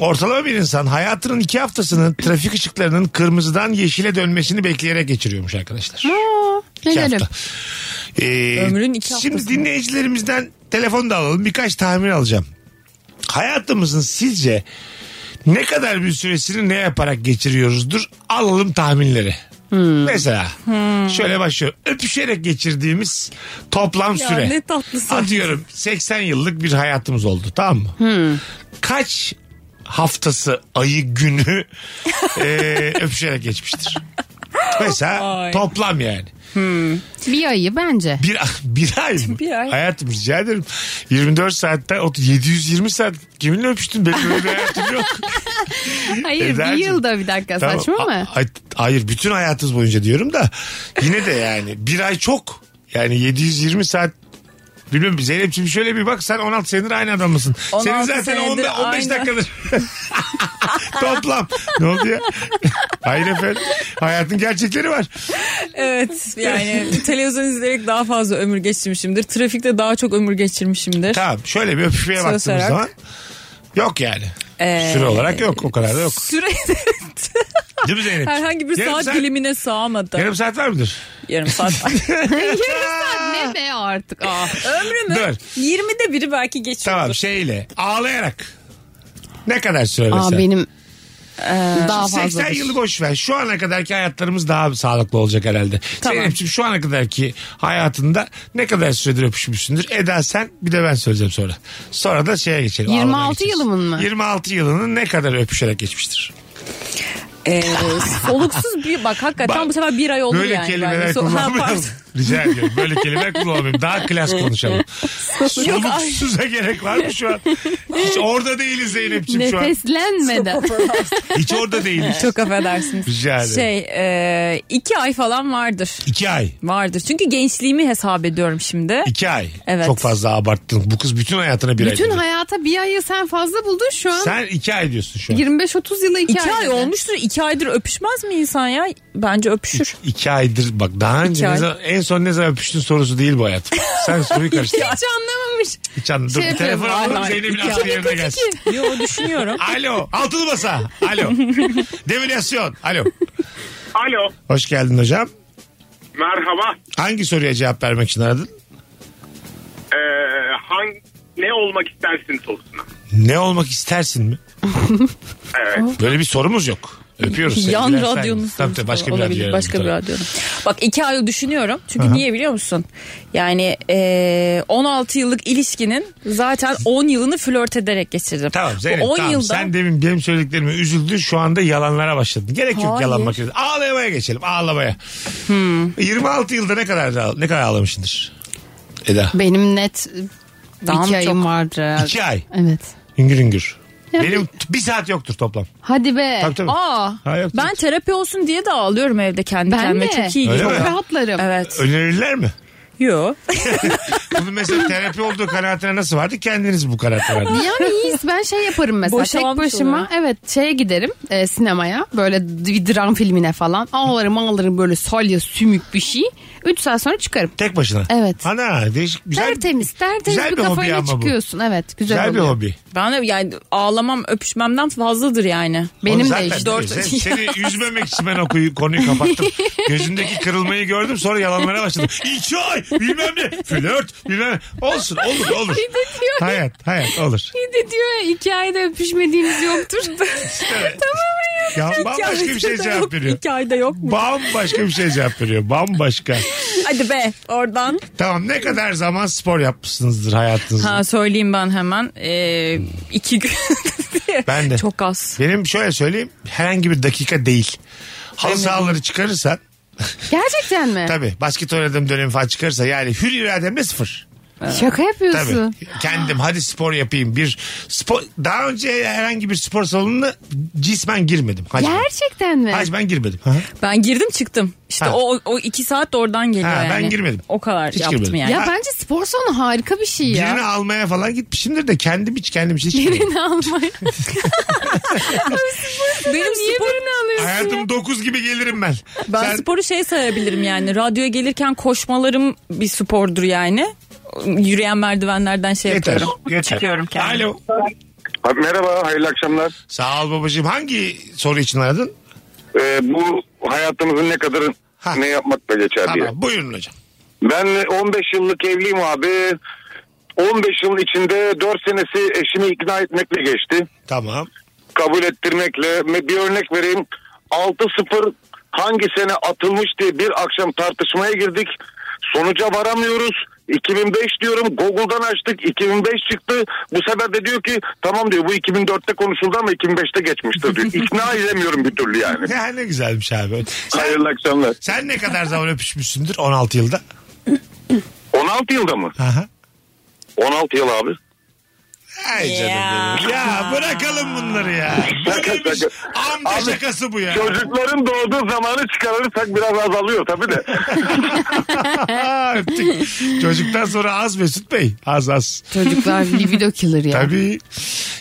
A: Ortalama bir insan hayatının iki haftasını trafik ışıklarının kırmızıdan yeşile dönmesini bekleyerek geçiriyormuş arkadaşlar. İki
C: Gelelim.
A: hafta. Ee,
B: Ömrün iki
A: Şimdi
B: haftasını.
A: dinleyicilerimizden telefon da alalım. Birkaç tahmin alacağım. Hayatımızın sizce ne kadar bir süresini ne yaparak geçiriyoruzdur? Alalım tahminleri.
B: Hmm.
A: Mesela şöyle başlıyor. Öpüşerek geçirdiğimiz toplam
B: Ya
A: süre.
B: ne tatlısın.
A: Atıyorum 80 yıllık bir hayatımız oldu tamam mı?
B: Hmm.
A: Kaç haftası, ayı,
B: (laughs)
A: günü eee, öpüşerek geçmiştir? Mesela
B: Ay.
A: toplam yani.
C: Bir ayı bence.
A: Bir, bir ay mı?
B: Bir ay.
A: Hayatım rica ederim. 24 saatte ot- 720 saat kiminle öpüştün? Benim öyle bir hayatım yok.
C: Hayır bir
A: Eda'cığım.
C: yılda bir dakika
A: Tamam. Ah,
C: saçma mı?
A: A- a- hayır bütün hayatınız boyunca diyorum da yine de yani
C: (laughs)
A: bir ay çok. Yani 720 saat Bilmiyorum Zeynep'ciğim şöyle bir bak sen 16 senedir aynı adam mısın?
B: 16
A: Senin zaten
B: senedir
A: 15, 15
B: aynı.
A: dakikadır. (laughs) Toplam. Ne oldu ya? (laughs) Hayır efendim. Hayatın gerçekleri var.
B: Evet yani televizyon izleyerek daha fazla ömür geçirmişimdir. Trafikte daha çok ömür geçirmişimdir.
A: Tamam şöyle bir öpüşmeye
B: Söz
A: baktığımız
B: olarak.
A: zaman yok yani.
B: Ee,
A: Süre olarak yok o kadar da yok.
B: Süre (laughs)
A: Değil mi Zeynep?
B: herhangi bir
A: Yarım
B: saat, dilimine sığamadı. Yarım,
A: Yarım saat var mıdır? (laughs)
B: saat.
C: ne be artık. Ah.
B: Ömrümün
A: Dur.
B: 20'de biri belki geçiyordur.
A: Tamam şeyle ağlayarak. Ne kadar süre
C: Aa,
A: mesela?
C: benim daha
A: 80
C: fazla.
A: yılı boş ver. Şu ana kadarki hayatlarımız daha sağlıklı olacak herhalde.
B: Tamam.
A: Zeynep'ciğim şu ana kadarki hayatında ne kadar süredir öpüşmüşsündür? Eda sen bir de ben söyleyeceğim sonra. Sonra da şeye geçelim.
C: 26
A: ağlamaya geçeceğiz.
C: yılımın mı?
A: 26 yılının ne kadar öpüşerek geçmiştir?
B: Ee, soluksuz bir bak hakikaten
A: Bak,
B: bu sefer bir ay oldu
A: Böyle
B: yani.
A: kelimeler
B: bence. So- Ha,
A: kullanmayalım.
B: (laughs) pardon.
A: (laughs) Rica ediyorum. Böyle kelimeler kullanmayalım. Daha klas konuşalım. Soluksuza gerek var mı şu an? Hiç orada değiliz Zeynep'ciğim şu an.
C: Nefeslenmeden.
A: Hiç orada değiliz.
B: Çok affedersiniz.
A: Rica ederim.
B: Şey e, iki ay falan vardır.
A: İki ay.
B: Vardır. Çünkü gençliğimi hesap ediyorum şimdi.
A: İki ay.
B: Evet.
A: Çok fazla abarttın. Bu kız bütün hayatına bir ay.
C: Bütün
A: dedi.
C: hayata bir ayı sen fazla buldun şu an.
A: Sen iki ay diyorsun şu an.
C: 25-30 yıla iki,
B: İki ay
C: dedin.
B: olmuştur. İki aydır öpüşmez mi insan ya? Bence öpüşür.
A: İki aydır bak daha önce
B: İki
A: ne
B: ay.
A: zaman- en son ne zaman öpüştün sorusu değil bu hayat. Sen soruyu
C: (laughs) Hiç
A: karıştırdın.
C: anlamamış.
A: Hiç anladım.
C: Şey
A: Dur, telefon
C: yapıyorum,
A: alalım
C: vallahi
A: Zeynep'in
C: iki
A: aklı
C: ay.
A: yerine gelsin. (laughs)
B: Yo düşünüyorum.
A: Alo. Altılı masa.
B: (laughs)
A: Alo. Devilasyon. Alo.
J: Alo.
A: Hoş geldin hocam.
J: Merhaba.
A: Hangi soruya cevap vermek için aradın?
J: Ee, hangi, ne olmak istersin sorusuna.
A: Ne olmak istersin mi?
J: Evet.
A: Böyle bir sorumuz yok. Öpüyoruz seni.
B: Yan
A: Dilersen-
B: radyonuz.
A: Tabii tabii başka bir radyo.
B: Başka bir radyo. Bak iki ay düşünüyorum. Çünkü niye biliyor musun? Yani e, 16 yıllık ilişkinin zaten 10 yılını flört ederek geçirdim.
A: Tamam
B: Bu
A: Zeynep
B: 10
A: tamam.
B: yılda
A: Sen demin benim söylediklerime üzüldün şu anda yalanlara başladın. Gerek yok
B: Hayır.
A: yalanmak. için. Ağlamaya geçelim ağlamaya.
C: Hmm.
A: 26 yılda ne kadar ne kadar ağlamışsındır? Eda.
C: Benim net
B: Daha mı
C: İki ayım
B: çok?
C: vardır herhalde.
A: İki ay.
C: Evet.
A: Hüngür hüngür.
C: Ya
A: Benim t- bir saat yoktur toplam.
C: Hadi be.
A: Tabii tabii.
B: Aa,
A: Ha, yok,
B: ben terapi olsun diye de ağlıyorum evde kendi
C: Ben
B: kendime.
C: de.
B: Çok iyi
A: Öyle
C: Çok
A: mi?
B: geliyor.
C: rahatlarım.
B: Evet.
A: Önerirler mi? (laughs)
B: Yo.
A: Bunun mesela terapi olduğu kanaatine nasıl vardı? Kendiniz bu kanaate vardı.
C: Yani iyiyiz. Ben şey yaparım mesela
B: Boşalmış
C: tek başıma.
B: oluyor.
C: Evet şeye giderim e, sinemaya. Böyle d- bir dram filmine falan. Ağlarım ağlarım böyle salya sümük bir şey. 3 saat sonra çıkarım.
A: Tek başına.
C: Evet.
A: Ana değişik güzel.
C: tertemiz tertemiz
A: güzel
C: bir
A: bir hobi
C: kafayla
A: ama bu.
C: çıkıyorsun. Evet güzel,
A: Güzel bir
C: oluyor.
A: hobi.
B: Ben de yani ağlamam öpüşmemden fazladır yani.
C: Benim
A: Oğlum
C: de
A: zaten
C: işte. (laughs)
B: Dört-
A: sen- seni üzmemek için ben o kuyu- konuyu kapattım. Gözündeki kırılmayı gördüm sonra yalanlara başladım. İki ay bilmem ne flört bilmem ne. Olsun olur olur.
C: Bir de diyor,
A: hayat hayat olur.
C: bir de diyor ya, iki ayda öpüşmediğimiz yoktur.
A: Ya bambaşka bir şey cevap veriyor.
B: İki ayda yok mu?
A: Bambaşka bir şey cevap veriyor. Bambaşka.
B: Hadi be oradan.
A: Tamam ne kadar zaman spor yapmışsınızdır hayatınızda.
B: Ha söyleyeyim ben hemen. Ee, iki gün.
A: (laughs) Ben de.
B: Çok az.
A: Benim şöyle söyleyeyim herhangi bir dakika değil. Halı
C: Şey
A: sahaları çıkarırsan
C: (laughs) Gerçekten mi?
A: tabii basket oynadığım dönemi falan çıkarırsa yani hür irademle sıfır.
C: Şaka
A: Tabii.
C: yapıyorsun.
A: Kendim hadi spor yapayım. Bir spor daha önce herhangi bir spor salonuna cismen girmedim. Hacmen.
C: Gerçekten mi?
A: Hacmen girmedim. Hı hı.
B: Ben girdim çıktım. İşte
A: Ha.
B: o, o iki saat de oradan geliyor
A: Ha,
B: yani.
A: ben girmedim.
B: O kadar
A: Hiç
B: yaptım
A: girmedim.
B: yani.
C: Ya bence spor salonu harika bir şey ya.
A: Birini almaya falan gitmişimdir de kendim hiç kendim hiç gitmedim.
C: (laughs) Birini almaya.
B: Benim
C: Niye
B: spor,
C: birini alıyorsun?
A: Hayatım 9 gibi gelirim ben.
B: ben
A: Sen-
B: sporu şey sayabilirim (laughs) yani. Radyoya gelirken koşmalarım bir spordur yani. Yürüyen merdivenlerden şey
A: Yeter.
B: yapıyorum.
A: yeter.
B: Çıkıyorum kendim.
A: Alo.
J: Merhaba, hayırlı akşamlar.
A: Sağ ol babacığım. Hangi soru için aradın?
J: Ee, bu hayatımızın ne kadar
A: Ha.
J: ne yapmakla geçer diye.
A: Tamam buyurun hocam.
J: Ben 15 yıllık evliyim abi. 15 yıl içinde 4 senesi eşimi ikna etmekle geçti.
A: (laughs) Tamam.
J: Kabul ettirmekle. Bir örnek vereyim. 6-0 hangi sene atılmış diye bir akşam tartışmaya girdik. Sonuca varamıyoruz. 2005 diyorum. Google'dan açtık. 2005 çıktı. Bu sefer de diyor ki tamam diyor bu 2004'te konuşuldu ama 2005'te geçmiştir diyor. İkna edemiyorum bir türlü yani.
A: Ya ne güzelmiş abi. Sen,
J: Hayırlı akşamlar.
A: sen ne kadar zaman öpüşmüşsündür 16 yılda?
J: 16 yılda mı?
A: Aha.
J: 16 yıl abi.
A: Ay canım
B: Ya.
A: benim. Ya bırakalım bunları ya. Bu
J: Şaka,
A: neymiş?
J: şaka.
A: Amca
J: Abi,
A: şakası bu ya.
J: Çocukların doğduğu zamanı çıkarırsak biraz azalıyor tabii
A: (laughs)
J: de.
A: Aa, öptük. Çocuktan sonra az Mesut Bey. Az az.
C: Çocuklar libido killer ya.
A: Tabii.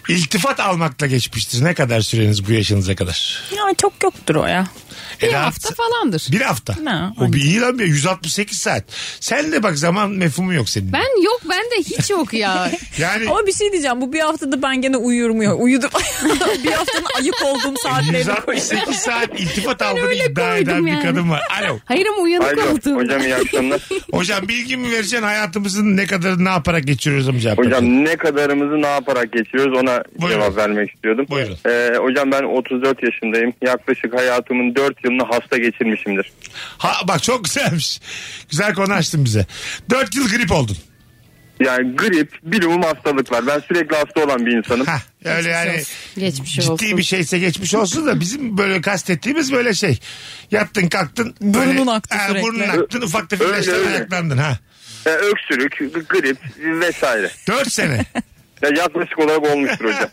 A: İltifat almakla geçmiştir. Ne kadar süreniz bu yaşınıza kadar?
B: Ya çok yoktur o ya.
C: Bir
A: E, rahat-
C: hafta falandır.
A: Bir hafta.
B: Ne,
A: o bir iyi lan bir 168 saat. Sen de bak zaman mefhumu yok senin.
C: Ben yok ben de hiç
A: (laughs)
C: yok ya.
A: Yani
B: Ama bir şey diyeceğim. Bu bir haftada ben gene uyuyorum ya. Uyudum. (laughs) bir haftanın ayık olduğum saatlerine koyuyorum.
A: 168 saat iltifat aldığını
C: öyle
A: iddia eden
C: koydum
A: bir
C: yani.
A: kadın var. Alo.
C: Hayır ama uyanık
J: Alo
C: oldum.
J: hocam iyi akşamlar.
A: Hocam bilgi mi vereceksin hayatımızın ne kadarını ne yaparak geçiriyoruz hocam?
J: Hocam ne kadarımızı ne yaparak geçiriyoruz ona
A: Buyurun.
J: cevap vermek istiyordum.
A: Buyurun.
J: Ee, hocam ben 34 yaşındayım. Yaklaşık hayatımın 4 yılını hasta geçirmişimdir.
A: Ha, bak çok güzelmiş. Güzel konu açtın bize. 4 yıl grip oldun.
J: Yani grip, bilumum hastalıklar. Ben sürekli hasta olan bir insanım.
A: Ha, öyle yani
C: Geçmiş
A: ciddi
C: olsun.
A: bir şeyse geçmiş olsun da bizim böyle kastettiğimiz böyle şey. Yattın kalktın.
B: Burnun
A: böyle-
B: aktı
A: Ha,
B: sürekli.
A: Burnun aktın ufak tefek
J: Öyle,
A: ilaçlara
J: öyle.
A: ayaklandın ha.
J: Ee, öksürük, grip vesaire.
A: 4 sene.
J: Ya yaklaşık olarak olmuştur
A: (laughs)
J: hocam.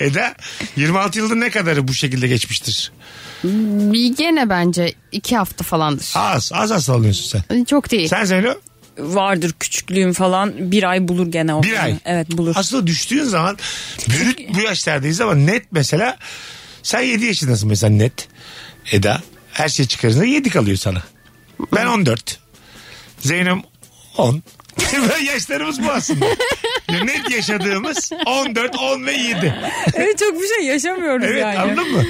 A: Eda 26 yılda ne kadarı bu şekilde geçmiştir?
C: Bir gene bence iki hafta falandır.
A: Az az hastalanıyorsun sen.
C: Çok değil.
A: Sen Zeyno?
B: Vardır küçüklüğüm falan. Bir ay bulur gene o.
A: Bir ay.
B: Evet bulur.
A: Aslında düştüğün zaman bürüt bu yaşlardayız ama net mesela sen 7 yaşındasın mesela net Eda. Her şey çıkarınca 7 kalıyor sana. Ben 14. Zeynep
B: (laughs)
A: 10. Böyle Yaşlarımız bu aslında. Ya net yaşadığımız 14, 10 ve 7.
B: evet çok bir şey yaşamıyoruz
A: Evet
B: yani.
A: anladın mı?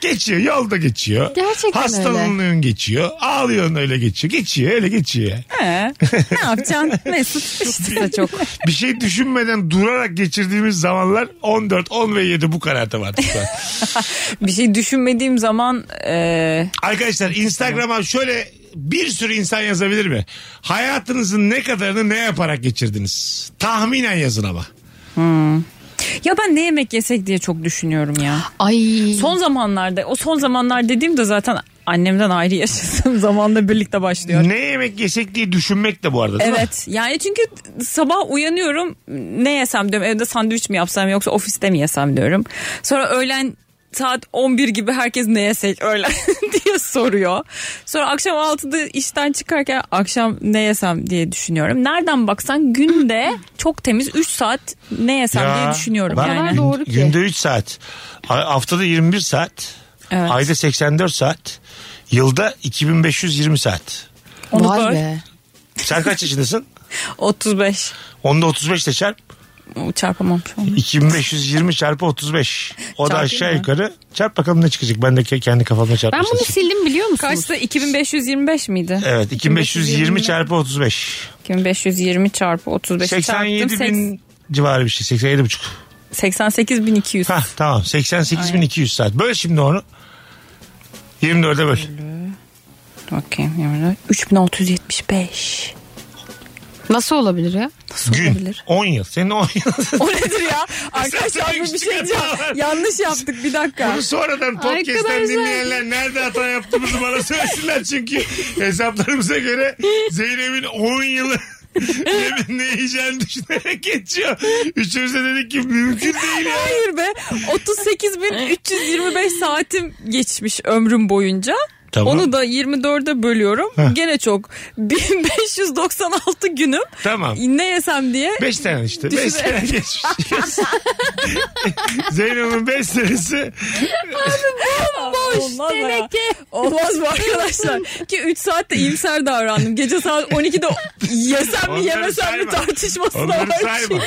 A: Geçiyor yolda geçiyor.
C: Gerçekten öyle.
A: Hastalığın geçiyor. Ağlıyorsun öyle geçiyor. Geçiyor öyle geçiyor. ya.
B: He. ne yapacaksın? Mesut işte de çok.
A: Bir şey düşünmeden durarak geçirdiğimiz zamanlar 14, 10 ve 7 bu kararda var.
B: Bir şey düşünmediğim zaman e,
A: Arkadaşlar Instagram'a şöyle bir sürü insan yazabilir mi? Hayatınızın ne kadarını ne yaparak geçirdiniz? Tahminen yazın ama.
B: ya ben ne yemek yesek diye çok düşünüyorum ya.
C: Ay.
B: Son zamanlarda o son zamanlar dediğim de zaten annemden ayrı (laughs) yaşasın zamanla birlikte başlıyor.
A: Ne yemek yesek diye düşünmek de bu arada değil mi?
B: Evet yani çünkü sabah uyanıyorum ne yesem diyorum evde sandviç mi yapsam yoksa ofiste mi yesem diyorum. Sonra öğlen saat 11 gibi herkes ne yesek öğlen (laughs) diye soruyor. Sonra akşam 6'da işten çıkarken akşam ne yesem diye düşünüyorum. Nereden baksan günde çok temiz 3 saat ne yesem
A: Ya,
B: diye düşünüyorum
A: bak,
B: yani.
C: kadar doğru. ki.
A: Günde 3 saat. a- Haftada 21 saat.
B: Evet.
A: Ayda 84 saat. Yılda 2520 saat.
B: Onu
C: Vay
B: böl.
C: be.
A: Sen kaç yaşındasın? (laughs)
B: 35
A: Onda 35 ile çarp.
B: çarpamam şu an.
A: 2520 çarpı 35. O da
B: Çarpayım
A: aşağı
B: mı?
A: yukarı. Çarp bakalım ne çıkacak. Ben de ke- kendi kafamda
C: Ben
A: çarpmışım.
C: bunu sildim biliyor musunuz?
B: Kaçta 2525 miydi?
A: Evet 2520 çarpı 35.
B: 2520 çarpı 35
A: 87
B: çarptım.
A: bin civarı bir şey. 87 buçuk.
B: 88200.
A: Hah tamam 88.200 saat. Böl şimdi onu. 24'e böl.
B: Bakayım. yani 3675.
C: Nasıl olabilir ya?
B: Nasıl
A: Gün.
B: olabilir?
A: 10 yıl. Senin 10 yıl.
B: O nedir
A: (laughs)
B: ya? Arkadaşlar bu bir şey
A: Çıkartma
B: diyeceğim.
A: var.
B: Yanlış yaptık bir dakika.
A: Sonradan podcast'ten
C: Arkadaşlar.
A: dinleyenler nerede hata yaptığımızı bana söylesinler. Çünkü hesaplarımıza göre Zeynep'in 10 yılı (laughs) ne, ne yiyeceğini düşünerek geçiyor. Üçümüz de dedik ki mümkün değil ya.
B: Hayır be 38.325 saatim geçmiş ömrüm boyunca.
A: Tamam.
B: Onu da 24'e bölüyorum.
A: Heh.
B: Gene çok. 1596 günüm.
A: Tamam.
B: Ne yesem diye.
A: Beş sene işte. Beş
B: Düşünün.
A: sene geçmiş. (laughs) Zeynep'in beş senesi
B: Olmaz ya. Olmaz mı arkadaşlar? Ki 3 saatte iyimser davrandım. Gece saat
A: (laughs)
B: 12'de yesem mi
A: Onları
B: yemesem mi
A: sayma.
B: tartışmasına
A: onları
B: var.
A: sayma.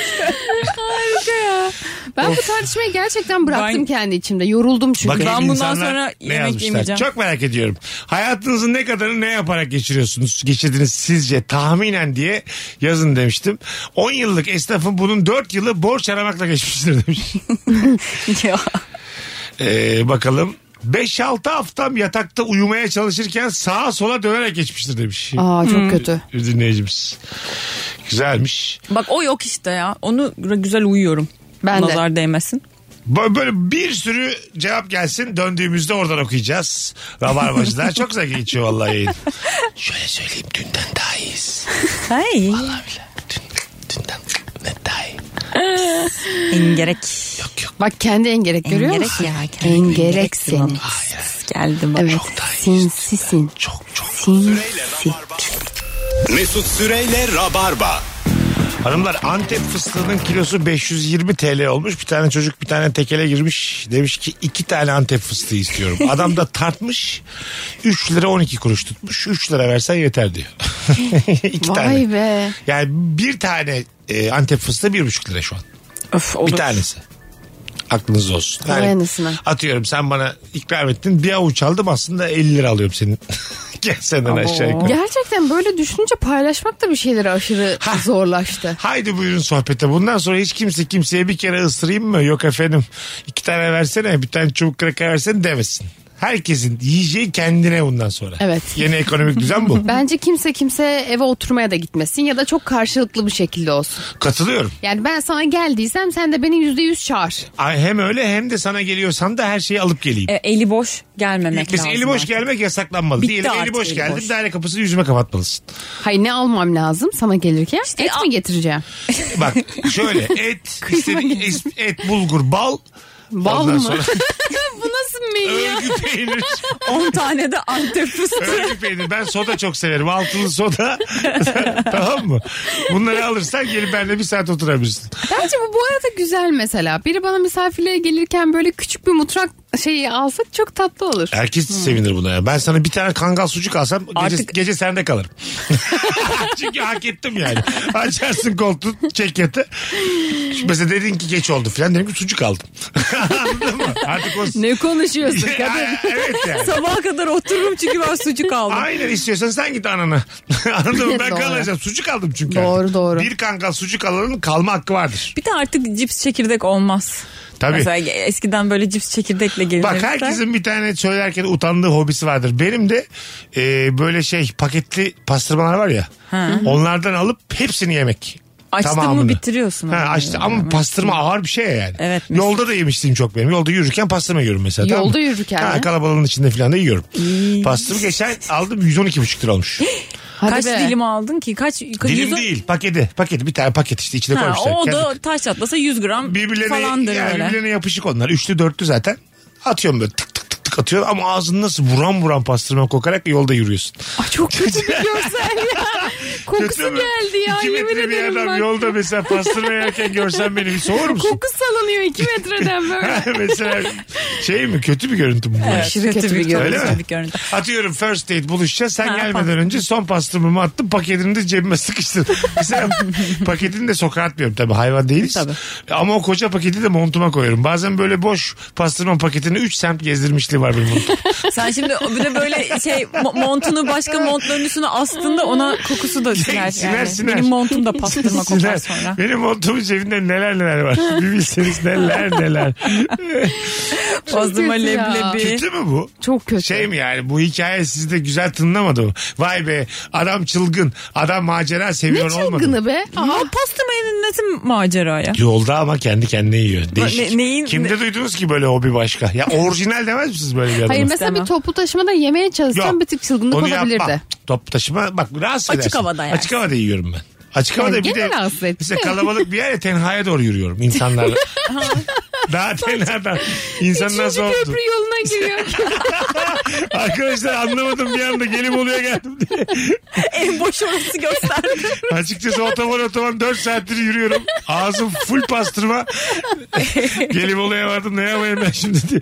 C: Ben bu tartışmayı gerçekten bıraktım
B: Ben-
C: kendi içimde. Yoruldum çünkü.
A: Bakayım
B: bundan
A: insanlar
B: sonra
A: ne
B: yemek
A: yazmışlar.
B: yemeyeceğim.
A: Çok merak ediyorum. Hayatınızın ne kadarını ne yaparak geçiriyorsunuz? Geçirdiniz sizce tahminen diye yazın demiştim. 10 yıllık esnafın bunun 4 yılı borç aramakla geçmiştir
B: (laughs)
A: demiş.
B: (laughs) ya.
A: Ee, bakalım. 5-6 haftam yatakta uyumaya çalışırken sağa sola dönerek geçmiştir demiş.
C: Aa çok kötü.
A: Bir dinleyicimiz. Güzelmiş.
B: Bak o yok işte ya. Onu güzel uyuyorum.
C: Ben de.
B: Nazar değmesin.
A: Bö- Böyle bir sürü cevap gelsin. Döndüğümüzde oradan okuyacağız. Rabarbacılar çok güzel geçiyor vallahi
B: (laughs)
A: yayın. Şöyle söyleyeyim dünden daha iyiyiz.
B: Hey.
A: Vallahi bile. Dün, dünden net daha iyi.
B: En gerek.
C: Bak kendi en gerek görüyor
B: gerek
C: musun?
B: ya.
C: En gerek
B: Geldim
C: seni.
B: Geldi bak.
C: Evet. Sinsisin.
A: Çok çok.
C: Sinsi.
I: Mesut Süreyle Rabarba.
A: Hanımlar Antep fıstığının kilosu 520 TL olmuş. Bir tane çocuk bir tane tekele girmiş. Demiş ki iki tane Antep fıstığı
C: (laughs)
A: istiyorum. Adam da tartmış. 3 lira 12 kuruş tutmuş. 3 lira versen yeter diyor. (laughs) iki tane.
C: Vay be.
A: Yani bir tane e, Antep fıstığı bir buçuk lira şu an.
B: Öf, olur.
A: Bir tanesi. Aklınızda olsun.
C: Vay anasını.
A: atıyorum sen bana ikram ettin bir avuç aldım aslında 50 lira alıyorum senin. (laughs) Gel senden aşağı yukarı.
C: Gerçekten böyle düşününce paylaşmak da bir şeyleri aşırı zorlaştı.
A: Haydi buyurun sohbete. Bundan sonra hiç kimse kimseye bir kere ısırayım mı? Yok efendim. iki tane versene bir tane çubuk kraker versene demesin. Herkesin yiyeceği kendine bundan sonra.
C: Evet.
A: Yeni ekonomik düzen
C: (laughs)
A: bu.
C: Bence kimse kimse eve oturmaya da gitmesin ya da çok karşılıklı bir şekilde olsun.
A: Katılıyorum.
C: Yani ben sana geldiysem sen de beni yüzde yüz çağır.
A: Ay, Hem öyle hem de sana geliyorsam da her şeyi alıp geleyim.
B: E, eli boş gelmemek
A: Mesela
B: lazım.
A: eli boş
B: artık.
A: gelmek yasaklanmalı.
B: Bitti
A: Diyelim eli
B: artık
A: boş
B: eli
A: geldim.
B: boş.
A: Daire kapısını yüzüme kapatmalısın.
C: Hayır ne almam lazım sana gelirken? Et
B: al-
C: mi getireceğim?
A: Bak
C: (laughs)
A: şöyle et, istedi- is- et, bulgur, bal.
C: Bal
A: Ondan
C: mı?
A: sonra
C: (laughs) Bu nasıl menü ya?
A: örgü peynir.
C: (laughs)
B: 10 tane de antep
A: (laughs)
B: fıstığı.
A: Örgü peynir. Ben soda çok severim. Altılı soda. (laughs) tamam mı? Bunları alırsan gelip benimle bir saat oturabilirsin.
C: Bence bu bu arada güzel mesela. Biri bana misafirliğe gelirken böyle küçük bir mutfak şeyi alsak çok tatlı olur.
A: Herkes sevinir buna ya. Ben sana bir tane kangal sucuk alsam gece,
B: Artık-
A: gece sende kalırım. (laughs) Çünkü hak ettim yani. Açarsın koltuğu çek yatı. Şimdi Mesela dedin ki geç oldu falan. Dedim ki sucuk aldım. (laughs) Anladın mı? Artık o... (laughs)
C: Ne konuşuyorsun kadın?
A: evet
C: (laughs)
A: yani.
B: Sabaha kadar otururum çünkü ben sucuk aldım.
A: Aynen istiyorsan sen git anana. (laughs) Anladın mı? Ben
C: Doğru.
A: kalacağım. Sucuk aldım çünkü.
C: Doğru,
A: artık.
C: doğru.
A: Bir kangal sucuk alanın kalma hakkı vardır.
B: Bir de artık cips çekirdek olmaz.
A: Tabii.
B: Mesela eskiden böyle cips çekirdekle gelinirdi.
A: Bak herkesin bir tane söylerken utandığı hobisi vardır. Benim de e, böyle şey paketli pastırmalar var ya. Onlardan alıp hepsini yemek.
B: Açtın
A: Tamamını.
B: mı bitiriyorsun.
A: Ha,
B: onu
A: açtı
B: yani.
A: ama pastırma ağır bir şey yani.
B: Evet, mis.
A: Yolda da yemiştim çok benim. Yolda yürürken pastırma yiyorum mesela. tamam mı?
C: Yolda yürürken
A: Ha,
C: mi?
A: kalabalığın içinde falan da yiyorum. pastırma geçen aldım 112,5 lira olmuş.
C: Hadi
B: Kaç
C: be.
B: dilim aldın ki? Kaç? Dilim
A: Dilim değil paketi. Paketi bir tane paket işte içine
B: Ha,
A: koymuşlar.
B: o
A: Kendi-
B: da taş atlasa 100 gram
A: birbirlerine,
B: falandır
A: yani
B: öyle.
A: birbirlerine yapışık onlar. Üçlü dörtlü zaten. Atıyorum böyle tık tık tık tık atıyorum ama ağzını nasıl vuran vuran pastırma kokarak yolda yürüyorsun.
C: Ay çok kötü bir görsel ya.
B: (laughs)
C: Kokusu
A: Kötü mü?
C: geldi ya.
A: İki
C: yemin
A: metre bir
C: ederim
A: adam
C: bak.
A: yolda mesela pastırma yerken görsen beni bir soğur musun?
C: Koku salınıyor iki metreden
A: (laughs)
C: böyle.
A: mesela şey mi kötü bir görüntü mü bu?
B: Aşırı kötü bir
A: Öyle
B: görüntü.
A: mi?
B: bir görüntü.
A: Atıyorum first date buluşacağız. Sen
B: Ha,
A: gelmeden
B: pat-
A: önce son pastırmamı attım. Paketini de cebime
B: (laughs)
A: sıkıştırdım. Mesela paketini de sokağa atmıyorum tabii. Hayvan değiliz.
B: Tabii.
A: Ama o koca paketi de montuma koyuyorum. Bazen böyle boş pastırma paketini 3 semt gezdirmişliği var benim montum.
B: Sen şimdi bir de böyle şey mo- montunu başka montların üstüne astığında ona kokusu da siner. yani.
A: Siner, siner.
B: Benim montum da pastırma kokar
A: Sizler-
B: sonra.
A: Benim montumun cebinde neler neler var. Bir bilseniz neler
B: (laughs)
A: neler.
B: Pastırma
C: kötü ya.
B: leblebi.
A: Kötü mü bu?
C: Çok kötü.
A: Şey mi yani bu hikaye sizde güzel tınlamadı mı? Vay be adam çılgın. Adam macera
C: ne
A: seviyor olmadı. mı?
C: çılgını be. Aa,
B: Ama pastırma nasıl macera ya?
A: Yolda ama kendi kendine yiyor. Değişik.
B: Ne- neyin-
A: Kimde duydunuz ki böyle hobi başka? Ya orijinal demez misiniz böyle bir adama?
C: Hayır mesela
B: İstemem.
C: bir toplu taşımada yemeye çalışsam bir tık çılgınlık
A: onu
C: olabilirdi.
A: yapma. Top taşıma bak rahatsız
B: Açık
A: edersin.
B: havada yersin.
A: Açık havada yiyorum ben. Açık havada
C: Yani
A: bir de
C: gene rahatsız etti.
A: mesela kalabalık bir yere tenhaya doğru yürüyorum
C: (laughs)
A: insanlarla. Daha tenhadan. İnsan
C: Üçüncü
A: nasıl oldu?
C: köprü yoluna giriyor.
A: Arkadaşlar anlamadım bir anda gelim oluyor geldim diye.
B: En boş orası gösterdi.
A: Açıkçası otoban otoban 4 saattir yürüyorum. Ağzım full
C: (laughs)
A: pastırma. gelim oluyor vardım ne yapayım ben şimdi diye.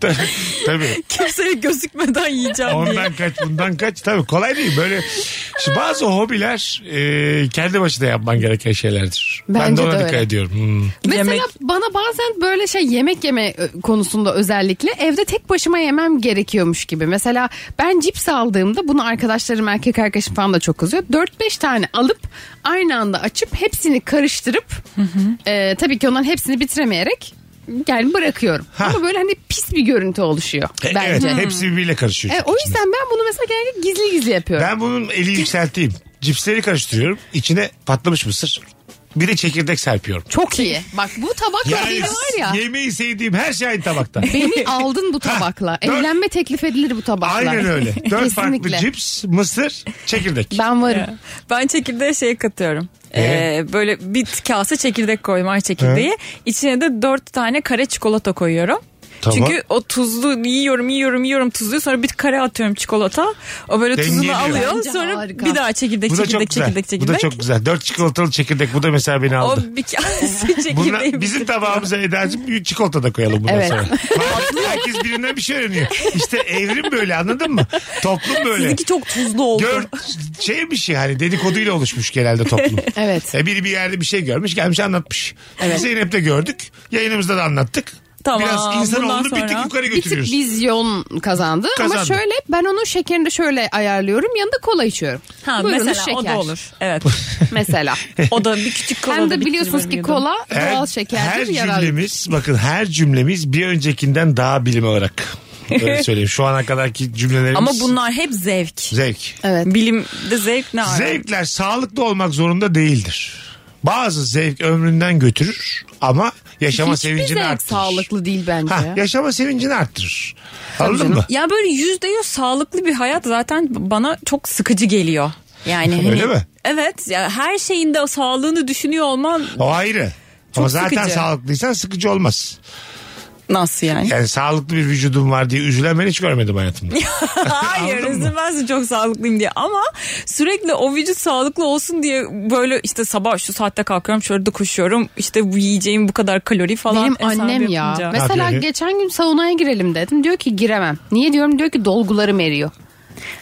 A: Ta- Tabii.
B: Kimseye gözükmeden yiyeceğim diye.
A: Ondan kaç bundan kaç tabii kolay değil böyle şu bazı hobiler e, kendi başına yapman gereken şeylerdir. ben de
C: Bence
A: ona
C: de
A: dikkat
C: öyle.
A: ediyorum. Hmm.
C: (laughs) mesela
B: Yemek.
C: bana bazen böyle şey yemek yeme ö, konusunda özellikle evde tek başıma yemem gerekiyormuş gibi. Mesela ben cips aldığımda bunu arkadaşlarım erkek arkadaşım falan da çok kızıyor. 4-5 tane alıp aynı anda açıp hepsini karıştırıp e, tabii ki onların hepsini bitiremeyerek yani bırakıyorum. Ama böyle hani pis bir görüntü oluşuyor
A: E,
C: bence.
A: Evet hepsi birbiriyle karışıyor.
C: E,
A: çünkü
C: o
A: içinde.
C: yüzden ben bunu mesela genelde gizli gizli yapıyorum.
A: Ben bunun eli yükselteyim. Cipsleri karıştırıyorum. İçine patlamış mısır. Bir de çekirdek serpiyorum.
C: Çok iyi. Bak bu tabak yani, var ya.
A: yemeği sevdiğim her şey aynı
C: (laughs)
A: tabakta. (laughs)
C: Beni aldın bu tabakla.
A: dört-
C: Evlenme teklif edilir bu tabakla.
A: Aynen öyle. Dört farklı
C: Kesinlikle.
A: cips, mısır, çekirdek.
C: Ben varım.
B: (laughs) Ben çekirdeğe şey katıyorum. Ee, böyle bir kase çekirdek koyma ay çekirdeği. İçine de dört tane kare çikolata koyuyorum.
A: Tamam.
B: Çünkü o tuzlu yiyorum yiyorum yiyorum tuzluyu sonra bir kare atıyorum çikolata. O böyle tuzunu
A: Dengeliyor.
B: alıyor
C: Bence
B: sonra
C: harika.
B: bir daha çekirdek
A: Bu da çok
B: çekirdek
A: güzel.
B: çekirdek
A: Bu da
B: çekirdek.
A: çok güzel. Dört çikolatalı çekirdek. Bu da mesela beni
B: O
A: aldı.
B: bir kase
A: (laughs)
B: çekirdeği. (laughs)
A: Bunlar, bizim
B: bitiriyor.
A: tabağımıza Eda'cığım bir çikolata da koyalım bundan
C: Evet.
A: sonra. Bak, Herkes birinden bir şey öğreniyor. İşte evrim böyle anladın mı? Toplum böyle.
B: Sizinki çok tuzlu oldu.
A: Gör, şey bir şey hani dedikoduyla oluşmuş genelde toplum.
C: Evet.
A: E, biri bir yerde bir şey görmüş gelmiş anlatmış. Evet. Zeynep'te gördük. Yayınımızda da anlattık.
B: Tamam,
A: Biraz insanoğlunu
B: bundan
A: bir tık
B: sonra-
A: yukarı
C: Bir tık
A: götürüyoruz.
C: vizyon kazandı.
A: Kazandı.
C: Ama şöyle ben onun şekerini de şöyle ayarlıyorum. Yanında kola içiyorum.
B: Ha,
C: Buyurunuz
B: mesela o
C: şeker.
B: da olur. Evet.
C: (laughs)
A: (laughs)
C: Mesela.
B: O da bir küçük kola
C: Hem de
B: da
C: biliyorsunuz ki
B: bitiriyorum.
C: kola
A: Her-
C: doğal şekerdir.
A: Her
C: yararlı.
A: cümlemiz bakın her cümlemiz bir öncekinden daha bilim olarak. Öyle söyleyeyim. Şu ana kadarki cümlelerimiz
B: Ama bunlar hep zevk.
A: zevk.
C: Evet.
B: Bilimde zevk ne ara?
A: Zevkler sağlıklı olmak zorunda değildir. Bazı zevk ömründen götürür ama yaşama
C: Hiçbir
A: sevincini
C: zevk
A: arttırır.
C: sağlıklı değil bence.
A: Ha, yaşama sevincini arttırır. Anladın mı?
B: (laughs) Ya böyle yüzde yüz sağlıklı bir hayat zaten bana çok sıkıcı geliyor. Yani
A: (laughs)
B: hani-
A: Öyle mi?
B: Evet. Ya her şeyinde o sağlığını düşünüyor olman
A: O ayrı. ama
B: Çok
A: zaten
B: sıkıcı.
A: sağlıklıysan sıkıcı olmaz.
B: nasıl yani? (laughs)
A: Yani sağlıklı bir vücudum var diye üzülen ben hiç görmedim hayatımda.
B: Hayır
A: Anladın mı?
B: üzülmezsin çok sağlıklıyım diye ama sürekli o vücut sağlıklı olsun diye böyle işte sabah şu saatte kalkıyorum şurada koşuyorum işte bu yiyeceğim bu kadar kalori falan.
C: Benim
B: hesabı
C: annem ya.
B: yapınca.
C: Mesela
A: yapıyor?
C: geçen gün saunaya girelim dedim. Diyor ki giremem. Niye diyorum? Diyor ki dolgularım eriyor.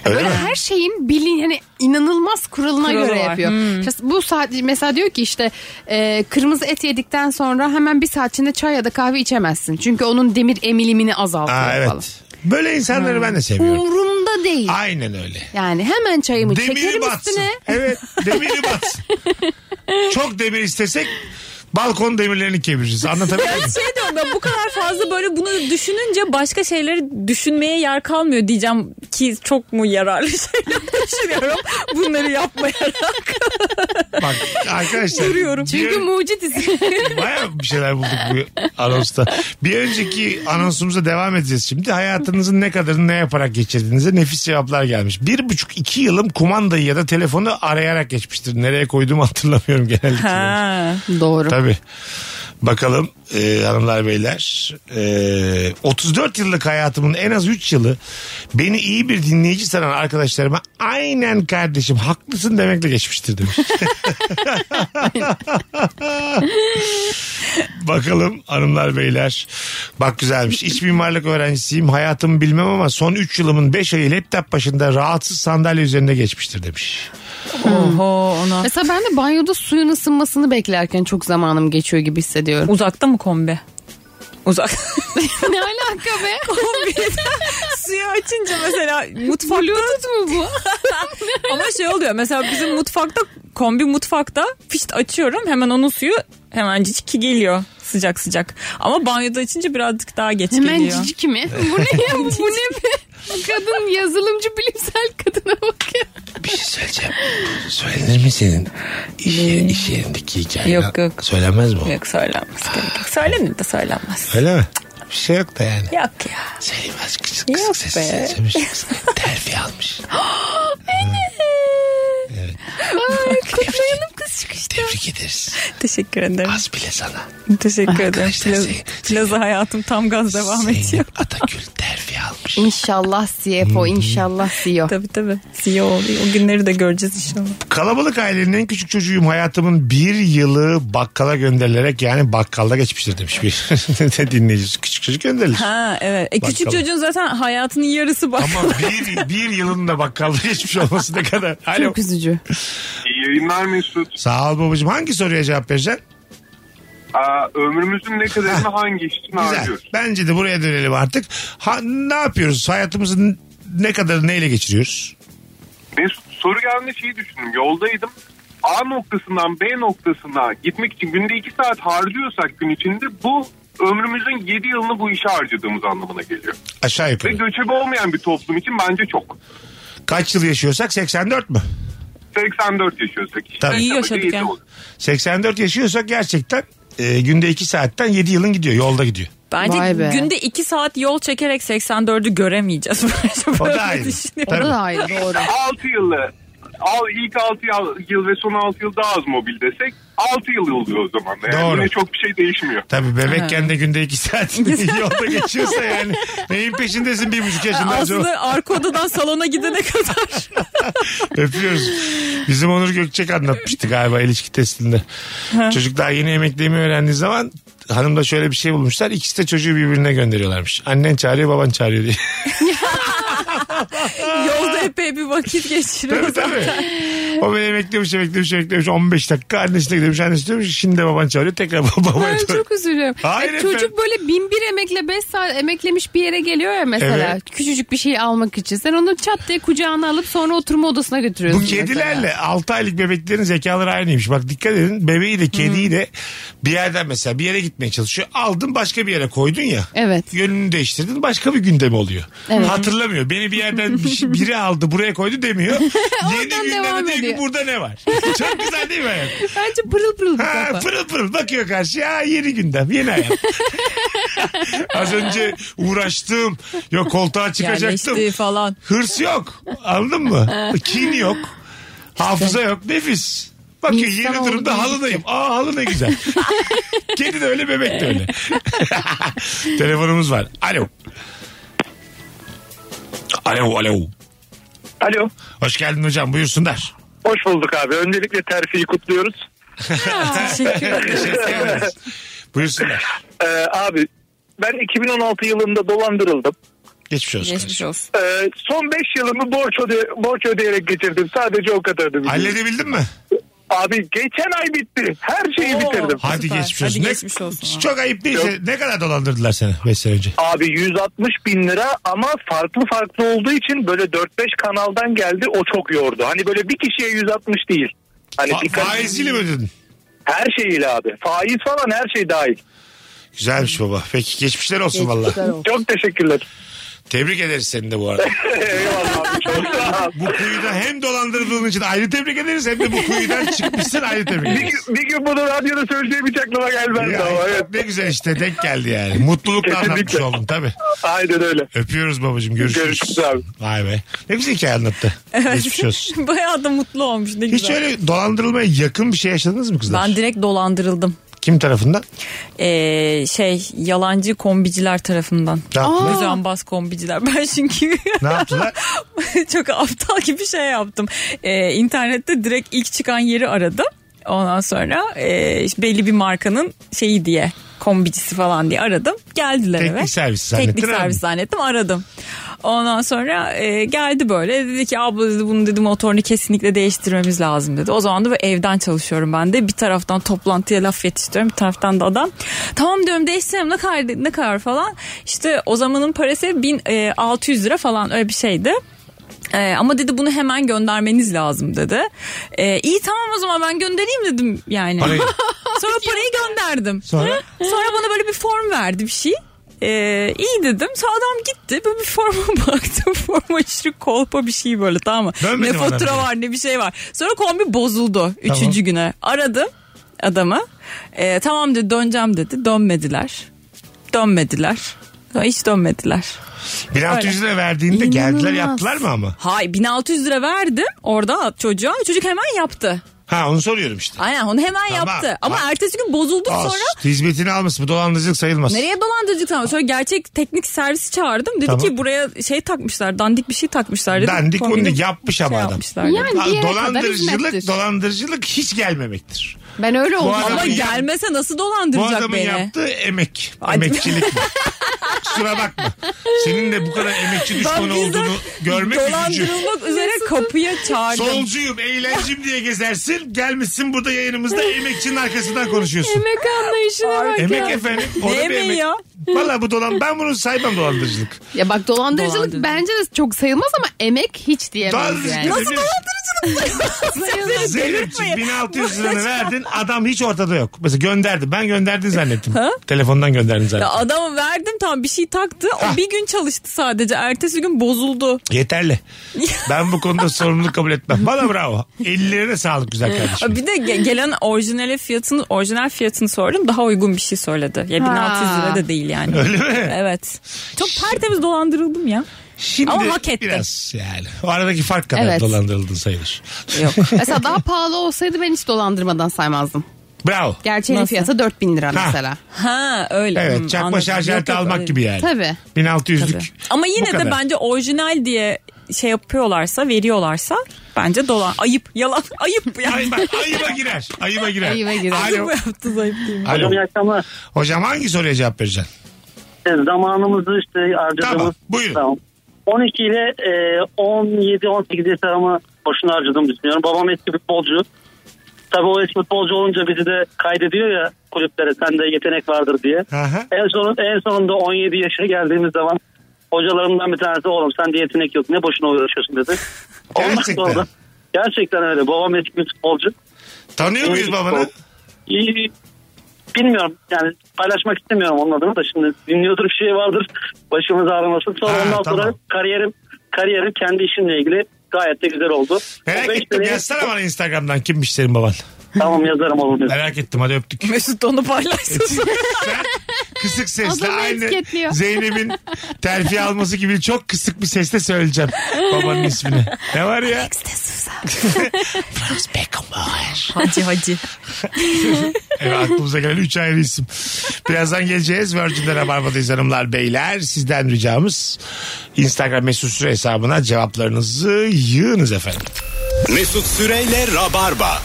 A: Öyle
C: Böyle
A: mi?
C: her şeyin bilin hani inanılmaz kuralına
B: Kuralı
C: göre
B: var.
C: yapıyor. İşte bu saat mesela diyor ki işte e, kırmızı et yedikten sonra hemen bir saat içinde çay ya da kahve içemezsin. Çünkü onun demir emilimini azaltıyor
A: Aa,
C: evet.
A: evet.
C: falan.
A: Böyle insanları ben de seviyorum.
C: Umurumda değil.
A: Aynen öyle.
C: Yani hemen çayımı
A: Demiri
C: çekerim
A: batsın.
C: üstüne.
A: Evet demiri
C: (laughs)
A: batsın. Çok demir istesek balkon demirlerini kemiririz. Anlatabiliyor muyum?
C: (laughs)
B: Şey diyor galiba bu kadar fazla böyle bunu düşününce başka şeyleri düşünmeye yer kalmıyor diyeceğim ki çok mu yararlı (laughs) şeyler düşünüyorum bunları yapmayarak.
A: Bak arkadaşlar.
B: Görüyorum.
A: bir-
C: Çünkü mucit isim.
A: Bayağı bir şeyler bulduk bu anonsta. Bir önceki anonsumuza devam edeceğiz şimdi. Hayatınızın ne kadarını ne yaparak geçirdiğinize nefis cevaplar gelmiş. Bir buçuk iki yılım kumandayı ya da telefonu arayarak geçmiştir. Nereye koyduğumu hatırlamıyorum genellikle.
B: (laughs) Ha.
C: Doğru.
A: Tabii. Bakalım e, hanımlar beyler. E, 34 yıllık hayatımın en az 3 yılı beni iyi bir dinleyici sanan arkadaşlarıma aynen kardeşim haklısın demekle geçmiştir demiş. (laughs) Bakalım hanımlar beyler. Bak güzelmiş. İç mimarlık öğrencisiyim. Hayatımı bilmem ama son 3 yılımın 5 ayı laptop başında rahatsız sandalye üzerinde geçmiştir demiş.
B: Oho ona.
C: Mesela ben de banyoda suyun ısınmasını beklerken çok zamanım geçiyor gibi hissediyorum.
B: Uzakta mı kombi? Uzak.
C: (laughs) ne alaka be?
B: (laughs) Suyu açınca mesela mutfakta
C: Bluetooth mu bu?
B: (laughs) Ama şey oluyor mesela bizim mutfakta kombi mutfakta fişt açıyorum hemen onun suyu hemen ciciki geliyor sıcak sıcak. Ama banyoda açınca birazcık daha geç
C: Hemen
B: geliyor.
A: (laughs)
C: cicik mi? Bu ne ya? Bu ne be? Kadın yazılımcı bilimsel kadına bakıyor.
A: Bir şey söyleyeceğim. Söylenir mi senin? İş, yer, iş yerindeki hikaye.
B: Ee, Yok, yok.
A: Söylenmez mi o?
B: Yok söylenmez gerek yok. Söylenir de söylenmez.
A: Öyle mi? Bir şey yok da yani.
B: Yok ya.
A: Söylenmez kısık
B: Yok
A: kısık
B: be.
A: sesi söylemiş.
B: (laughs)
A: Terfi almış.
C: Ay kutlayalım kız çıkışta.
A: Tebrik ederiz.
B: Teşekkür ederim.
A: Az bile sana.
B: Teşekkür ederim.
A: Arkadaşlar,
B: Plaza,
A: seni-
B: plaza hayatım tam gaz devam
A: Zeynep
B: ediyor.
A: Atakül terfi almış.
C: İnşallah CFO,
A: Hmm.
C: inşallah E CEO.
B: (laughs) Tabii tabii. CEO oluyor. O günleri de göreceğiz inşallah.
A: Kalabalık ailenin en küçük çocuğuyum. Hayatımın bir yılı bakkala gönderilerek yani bakkalda geçmiştir demiş bir (laughs) dinleyicisi. Küçük çocuk gönderilir.
B: Ha evet. E, küçük
A: Bakalım.
B: çocuğun zaten hayatının yarısı bak.
A: Ama bir, bir yılın da bakkalda geçmiş olması ne kadar. Alo.
C: Çok üzücü.
F: İyi yayınlar Mesut.
A: Sağ ol babacığım. Hangi soruya cevap vereceksin?
F: Aa, ömrümüzün ne
A: (laughs)
F: kadarını hangi işin
A: Güzel.
F: harcıyoruz?
A: Bence de buraya dönelim artık. Ha, ne yapıyoruz? Hayatımızın ne kadar neyle geçiriyoruz?
F: Mesut soru geldiğinde şeyi düşündüm. Yoldaydım. A noktasından B noktasına gitmek için günde 2 saat harcıyorsak gün içinde bu ömrümüzün 7 yılını bu işe harcadığımız anlamına geliyor.
A: Aşağı
F: Ve
A: yukarı.
F: göçebe olmayan bir toplum için bence çok.
A: Kaç yıl yaşıyorsak 84 mü?
F: 84 yaşıyorsak işte.
A: Tabii.
B: İyi
F: Tabii
B: yaşadık
F: yedi
B: yani.
F: olur.
A: 84 yaşıyorsak gerçekten e, günde 2 saatten 7 yılın gidiyor. Yolda gidiyor.
B: (laughs) Bence
C: Vay be.
B: günde 2 saat yol çekerek 84'ü göremeyeceğiz. (laughs) Bence
A: O
B: böyle
A: da aynı.
B: düşünüyorum.
C: O
A: Tabii.
C: da hayır doğru.
F: 6 yılı al ilk 6 yıl ve son 6 yıl daha az mobil desek 6 yıl oluyor o zaman. da. Yani
A: Doğru.
F: yine çok bir şey değişmiyor.
A: Tabii bebekken de günde 2 saat (laughs) yolda geçiyorsa yani neyin peşindesin bir buçuk yaşından sonra
B: Aslında arka odadan salona
A: (laughs)
B: gidene kadar.
A: öpüyoruz. Bizim Onur Gökçek anlatmıştı galiba ilişki testinde. Çocuk daha yeni emeklemeyi öğrendiği zaman hanım da şöyle bir şey bulmuşlar. İkisi de çocuğu birbirine gönderiyorlarmış. Annen çağırıyor baban çağırıyor diye.
B: Yolda epey bir vakit
A: Tabii
B: geçiriyoruz.
A: tabii. O beni beklemiş, beklemiş, beklemiş. 15 dakika annesine gidiyormuş, annesi diyormuş. ki, Şimdi de baban çağırıyor. Tekrar babaya
C: (laughs) Ben
A: çağırıyor.
C: çok üzülüyorum.
A: Hayır
C: E, çocuk
A: efendim.
C: böyle bin bir emekle beş saat emeklemiş bir yere geliyor ya mesela.
A: Evet.
C: Küçücük bir şeyi almak için. Sen onu çat diye kucağına alıp sonra oturma odasına
A: Bu
C: götürüyorsun. mesela.
A: kedilerle 6 aylık bebeklerin zekaları aynıymış. Bak dikkat edin bebeği de kediyi de bir yerden mesela bir yere gitmeye çalışıyor. Aldın başka bir yere koydun ya.
C: Evet.
A: Yönünü değiştirdin başka bir gündem oluyor.
C: Evet.
A: Hatırlamıyor. Beni bir
C: (laughs)
A: yerden bir şey- biri aldı buraya koydu demiyor. Yeni
C: Oradan
A: gündeme
C: devam
A: diyor ki
C: ediyor.
A: burada ne
C: (laughs)
A: var? Çok güzel değil mi hayat?
C: Bence pırıl pırıl bir
A: Ha,
C: kafa.
A: pırıl pırıl bakıyor karşıya. Ha, yeni gündem yeni
C: (laughs)
A: hayat. Az önce uğraştım. Yok koltuğa çıkacaktım. (laughs)
B: Yerleşti falan.
A: Hırs yok. Anladın mı? Kin yok. Hafıza yok. Nefis. Bakıyor
C: İnsan
A: yeni
C: oldu
A: durumda
C: değil
A: halıdayım. Aa halı ne
C: (laughs)
A: güzel. Kedi de öyle bebek de öyle. (laughs) Telefonumuz var. Alo. Alo alo.
E: Alo.
A: Hoş geldin hocam buyursunlar.
E: Hoş bulduk abi. Öncelikle terfiyi kutluyoruz.
A: Teşekkür ederiz. Buyursunlar.
E: Ee, abi ben 2016 yılında dolandırıldım.
A: Geçmiş olsun. (laughs)
B: Geçmiş olsun. (laughs)
E: Ee, son 5 yılımı borç, öde- borç ödeyerek geçirdim. Sadece o kadardı.
A: Halledebildin mi?
E: Abi geçen ay bitti. Her şeyi
B: Oo.
E: bitirdim.
A: Hadi
B: Süper.
A: geçmiş
B: Hadi
A: olsun. Ne-
B: geçmiş olsun.
A: Çok ayıp değil. Ne kadar dolandırdılar seni 5 sene önce?
E: Abi 160 bin lira ama farklı farklı olduğu için böyle 4-5 kanaldan geldi o çok yordu. Hani böyle bir kişiye 160 değil. Hani
A: Fa-
E: dikkat
A: faiziyle mi ödedin?
E: her şeyiyle abi. Faiz falan her şey dahil.
A: Güzelmiş baba. Peki geçmişler olsun valla.
J: Çok teşekkürler.
A: Tebrik ederiz seni de bu arada.
J: Eyvallah abi. Çok sağ ol.
A: bu kuyuda hem dolandırıldığın için ayrı tebrik ederiz hem de bu kuyudan çıkmışsın ayrı tebrik
J: Bir,
A: ederiz.
J: gün- bir gün bunu radyoda söyleyeceğim hiç aklıma gelmez
A: Ya,
J: ama evet.
A: Ne güzel işte denk geldi yani. Mutlulukla
J: Kesinlikle.
A: anlatmış oldun tabii.
J: Aynen öyle.
A: Öpüyoruz babacığım görüşürüz.
J: Görüşürüz abi.
A: Vay be. Ne güzel hikaye anlattı. Geçmiş olsun.
B: Bayağı da mutlu olmuş ne
A: Hiç
B: (laughs) güzel.
A: öyle dolandırılmaya yakın bir şey yaşadınız mı kızlar?
B: Ben direkt dolandırıldım.
A: Kim tarafından?
B: Ee, şey yalancı kombiciler tarafından.
A: Ne yaptılar?
B: Düzenbaz kombiciler. (laughs) Ben çünkü
A: Ne yaptılar?
B: çok aptal gibi şey yaptım. Ee, internette direkt ilk çıkan yeri aradım. Ondan sonra e, işte belli bir markanın şeyi diye kombicisi falan diye aradım. Geldiler
A: Teknik
B: eve.
A: servis zannettin
B: Teknik
A: herhalde.
B: servis zannettim aradım. Ondan sonra e, geldi böyle dedi ki abla dedi bunu dedi motorunu kesinlikle değiştirmemiz lazım dedi. O zaman da böyle evden çalışıyorum ben de bir taraftan toplantıya laf yetiştiriyorum bir taraftan da adam. Tamam diyorum değiştirelim ne kadar, ne kadar falan. İşte o zamanın parası 1600 lira falan öyle bir şeydi. Ee, ama dedi bunu hemen göndermeniz lazım dedi. Ee, iyi tamam o zaman ben göndereyim dedim yani.
A: Parayı.
B: (laughs) Sonra parayı gönderdim.
A: Sonra?
B: (laughs) Sonra bana böyle bir form verdi bir şey. Ee, iyi dedim. Sonra adam gitti. Böyle bir forma (laughs) baktım. Forma içi kolpa bir şey böyle tamam mı?
A: Dönmedim
B: ne fatura
A: adam.
B: var ne bir şey var. Sonra kombi bozuldu.
A: Tamam.
B: Üçüncü güne. Aradım adamı. Ee, tamam dedi döneceğim dedi. Dönmediler. Dönmediler. Sonra Hiç dönmediler.
A: 1600 lira verdiğinde geldiler yaptılar mı ama?
B: Hay 1600 lira verdim orada çocuğa. Çocuk hemen yaptı.
A: Ha onu soruyorum işte.
B: Aynen onu hemen
A: Tamam.
B: yaptı. Ama
A: Tamam.
B: ertesi gün bozuldu
A: Az.
B: sonra.
A: Hizmetini alması bu dolandırıcılık sayılmaz.
B: Nereye dolandırıcı tamam. Sonra gerçek teknik servisi çağırdım. Dedi
A: Tamam.
B: ki buraya şey takmışlar. Dandik bir şey takmışlar dedi.
A: Dandik
B: Kombine
A: onu yapmış ama
B: şey
A: adam.
B: yapmışlar dedi.
C: Yani bir yere kadar
A: dolandırıcılık
C: hizmettir.
A: dolandırıcılık hiç gelmemektir.
C: Ben öyle
A: Bu
C: oldum.
A: adam-
B: Ama
A: adamın yap-
B: gelmese nasıl
A: Bu
B: dolandıracak
A: adamın
B: beni?
A: yaptığı emek.
B: Hadi.
A: Emekçilik bu. Kusura bakma. Senin de bu kadar emekçi
B: Ben
A: düşmanı
B: bizzat
A: olduğunu görmek üzücü.
B: dolandırılmak üzere kapıya çağırdım.
A: Solcuyum, eğlencim diye gezersin. Gelmişsin burada yayınımızda emekçinin arkasından konuşuyorsun.
C: Emek anlayışına bak
A: Emek
C: ya.
A: efendim. o da
B: Ne
A: bir
B: emeği
A: emek.
B: ya?
A: Valla bu dolan ben bunu saymam dolandırıcılık.
C: Ya bak dolandırıcılık
B: Dolandırıcılık.
C: bence de çok sayılmaz ama emek hiç diyemeyiz
A: Dolandırıcılık
C: yani.
A: Nasıl
B: (laughs) Seni
A: Zeynep'ciğim
B: delirtmeyin.
A: 1600 liranı verdin adam hiç ortada yok. Mesela gönderdi ben gönderdi zannettim. Telefondan gönderdin
B: Ya
A: zannettim.
B: adama verdim tam bir şey taktı.
A: Hah.
B: O bir gün çalıştı sadece. Ertesi gün bozuldu.
A: Yeterli. Ben bu
B: (laughs)
A: konuda sorumluluk kabul etmem. Bana bravo. Ellerine sağlık güzel kardeşim.
B: Bir de ge- gelen orijinal fiyatını orijinal fiyatını sordum. Daha uygun bir şey söyledi. Ya 1600
C: Ha.
B: lira da değil yani.
A: Öyle mi?
B: Evet. Çok tertemiz dolandırıldım ya.
A: Şimdi
B: Ama hak ettim.
A: biraz yani. O aradaki fark kadar
C: Evet.
A: dolandırıldın sayılır.
B: Yok.
C: Mesela daha pahalı olsaydı ben hiç dolandırmadan saymazdım.
A: Bravo.
C: Gerçeğin
B: Nasıl?
C: fiyatı 4000 lira mesela.
B: (laughs) Ha öyle. Hmm,
A: Evet çakma
B: anladım.
A: şarj
B: Yok,
A: aleti
B: yok,
A: almak
B: öyle.
A: gibi yani.
C: Tabii.
A: 1600'lük.
B: Ama
A: Bu
B: yine
A: kadar.
B: de bence orijinal diye şey yapıyorlarsa, veriyorlarsa bence dolan ayıp, yalan (laughs) ayıp yani.
A: Ay, bak, ayıba girer. Ayıba girer.
C: Ayıba girer.
A: Alo.
B: Bu yaptığınız ayıp değil mi?
A: Alo.
K: İyi akşamlar.
A: Hocam hangi soruya cevap vereceksin?
K: İşte zamanımızı işte harcadığımız.
A: Tamam, buyurun.
K: 12 ile e, 17 18 yaş aramı boşuna harcadığımı düşünüyorum. Babam eski futbolcu. Tabii o eski futbolcu olunca bizi de kaydediyor ya kulüplere sende yetenek vardır diye.
A: Aha.
K: En son en sonunda 17 yaşına geldiğimiz zaman hocalarımdan bir tanesi oğlum sende yetenek yok ne boşuna uğraşıyorsun dedi. Ondan
A: (laughs) Gerçekten.
K: sonra- gerçekten öyle. Babam eski bir futbolcu.
A: Tanıyor muyuz babanı?
K: İyi, bilmiyorum yani paylaşmak istemiyorum onun adını da şimdi dinliyordur bir şey vardır başımız ağrımasın. Sonra
A: Ha,
K: ondan
A: tamam.
K: sonra kariyerim kariyerim kendi işimle ilgili gayet de güzel oldu. O
A: Merak
K: beş
A: ettim
K: seneye-
A: yazsana bana Instagram'dan kimmiş senin baban.
K: Tamam yazarım olur diyorsun.
A: Merak ettim hadi öptük.
B: Mesut da
A: (laughs)
B: onu paylaşsın.
A: Sen kısık sesle
C: Adamı
A: aynı
C: etiketliyor.
A: Zeynep'in terfi alması gibi çok kısık bir sesle söyleyeceğim babanın ismini. Ne var ya? Franz Beckenbauer.
B: hacı hacı.
A: Evet, aklımıza gelen 3 ayrı isim. Birazdan geleceğiz. Virgin'de Rabarba'dayız hanımlar beyler. Sizden ricamız Instagram mesut süre hesabına cevaplarınızı yığınız efendim.
I: Mesut Süreyle Rabarba.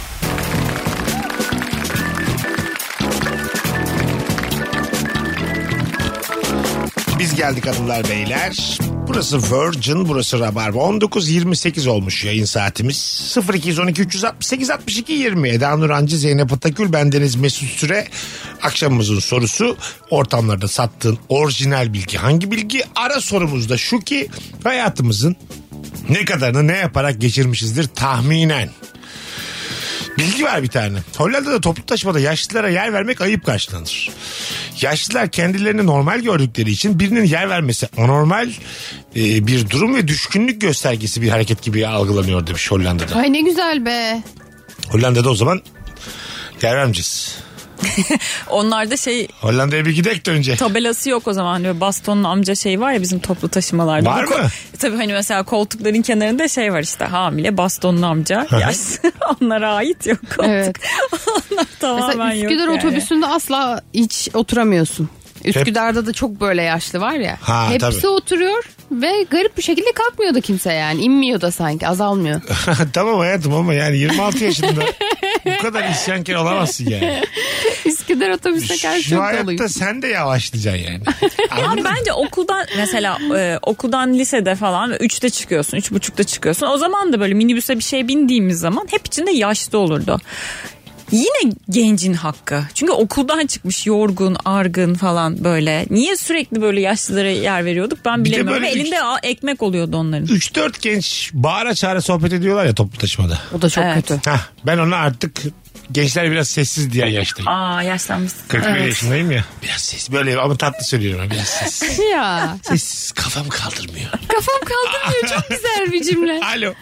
A: Biz geldik hanımlar beyler. Burası Virgin, burası Rabarba. 19.28 olmuş yayın saatimiz. 0212 368 62 20. Eda Nurancı, Zeynep Atakül, bendeniz Mesut Süre. Akşamımızın sorusu ortamlarda sattığın orijinal bilgi hangi bilgi? Ara sorumuz da şu ki hayatımızın ne kadarını ne yaparak geçirmişizdir tahminen. Bilgi var bir tane. Hollanda'da toplu taşımada yaşlılara yer vermek ayıp karşılanır. Yaşlılar kendilerini normal gördükleri için birinin yer vermesi anormal e, bir durum ve düşkünlük göstergesi bir hareket gibi algılanıyor demiş Hollanda'da.
C: Ay ne güzel be.
A: Hollanda'da o zaman yer vermeyeceğiz.
B: Onlarda şey
A: Hollanda'ya bir gidek de önce.
B: (laughs) tabelası yok o zaman. Böyle bastonun amca şey var ya bizim toplu taşımalarda.
A: Var
B: Bu ko-
A: mı?
B: (laughs) Tabii hani mesela koltukların kenarında şey var işte hamile bastonlu amca.
A: hı.
B: Yaşlı. (laughs) Onlara ait yok koltuk.
C: Evet.
B: (laughs) Onlar tamamen
C: Mesela
B: yok
C: Üsküdar
B: yani.
C: otobüsünde asla hiç oturamıyorsun. Üsküdar'da da çok böyle yaşlı var ya.
A: Ha,
C: Hepsi
A: tabii.
C: oturuyor ve garip bir şekilde kalkmıyordu kimse yani. İnmiyor da
A: (laughs)
C: sanki azalmıyor.
A: tamam hayatım ama yani 26 yaşında bu kadar isyankar olamazsın yani.
C: Üsküdar otobüsüne karşı
A: Şu
C: çok
A: hayatta
C: doluyum.
A: sen de yavaşlayacaksın yani. Anladın
B: Ama
A: mı?
B: bence okuldan mesela e, okuldan lisede falan 3'te çıkıyorsun, üç buçukta çıkıyorsun. O zaman da böyle minibüse bir şey bindiğimiz zaman hep içinde yaşlı olurdu. Yine gencin hakkı. Çünkü okuldan çıkmış yorgun, argın falan böyle. Niye sürekli böyle yaşlılara yer veriyorduk ben
A: Bir de
B: bilemiyorum.
A: böyle
B: Ve Elinde a- ekmek oluyordu onların.
A: 3-4 genç bağıra çağıra sohbet ediyorlar ya toplu taşımada.
C: O da çok
B: Evet.
C: kötü.
A: Hah, ben ona artık gençler biraz sessiz diye yaştayım.
B: Aa yaşlanmış.
A: 41 yaşındayım ya. Biraz sessiz böyle ama tatlı söylüyorum. Biraz sessiz.
C: (laughs) Ya
A: (laughs) sessiz kafam kaldırmıyor.
C: kafam kaldırmıyor çok güzel bir cümle.
A: Alo.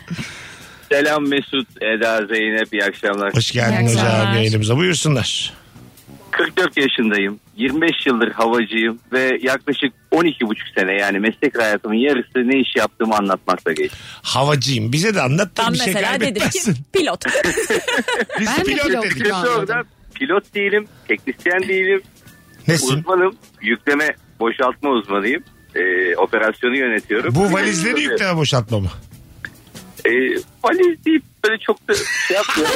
L: Selam Mesut, Eda, Zeynep iyi akşamlar.
A: Hoş geldin
C: İyi akşamlar.
A: hocam yayınımıza buyursunlar.
L: 44 yaşındayım. 25 yıldır havacıyım ve yaklaşık 12,5 sene yani meslek hayatımın yarısı ne iş yaptığımı anlatmakla geçti.
A: Havacıyım. Bize de anlat da
B: Ben
A: bir şey
B: mesela dedim
C: (laughs)
B: ki
A: kaybetmezsin. (laughs)
B: pilot.
A: Biz
C: Ben de
A: pilot
C: pilot
A: dedik.
C: gibi
L: Şimdi orada
C: anladım.
L: pilot değilim, teknisyen değilim,
A: Nesin?
L: uzmanım, yükleme boşaltma uzmanıyım. Ee, operasyonu yönetiyorum.
A: Bu valizleri yükleme boşaltma mı?
L: Ee, valiz deyip böyle çok da
A: (laughs)
L: şey yapmıyorum.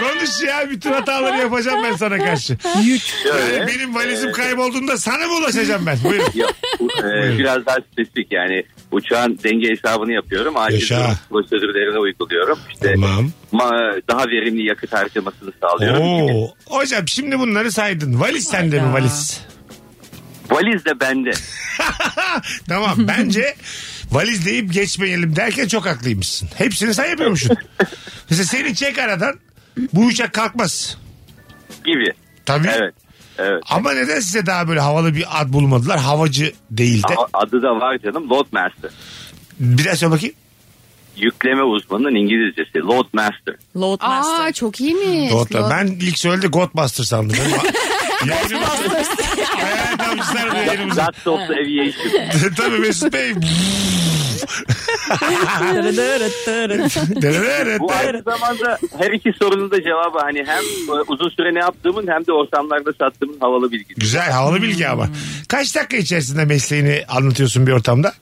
A: Konuş ya bütün hataları yapacağım ben sana karşı. Yük.
L: Şöyle.
A: benim valizim kaybolduğunda sana mı ulaşacağım ben? Buyurun.
L: Yok, bu- e, biraz daha spesifik yani uçağın denge hesabını yapıyorum. Acil
A: Yaşa.
L: durum prosedürlerini uyguluyorum. İşte
A: Tamam.
L: ma- daha verimli yakıt harcamasını sağlıyorum. Çünkü
A: Oo. Hocam şimdi bunları saydın. Valiz sende mi
B: Hayda.
A: valiz? (laughs)
L: Valiz de bende.
A: Tamam bence valiz deyip geçmeyelim derken çok haklıymışsın. Hepsini sen yapıyormuşsun. Mesela seni çek aradan bu uçak kalkmaz.
L: gibi.
A: Tabii.
L: Evet. Evet.
A: Ama neden size daha böyle havalı bir ad bulmadılar? Havacı değil de.
L: A- Adı da var canım Loadmaster.
A: Bir daha söyle bakayım.
L: Yükleme uzmanının İngilizcesi Loadmaster.
B: Loadmaster.
C: Aa çok iyiymiş.
A: Gotla. Ben ilk söyledi Godbuster sandım. Benim Yayınımız. Hayal yapmışlar bu yayınımızı.
L: That's of the Aviation.
A: (laughs) Tabii Mesut
L: (laughs)
A: Bey.
L: Bu aynı zamanda her iki sorunun da cevabı hani hem e, uzun süre ne yaptığımın hem de ortamlarda sattığımın havalı bilgisi.
A: Güzel havalı bilgi ama. Kaç dakika içerisinde mesleğini anlatıyorsun bir ortamda?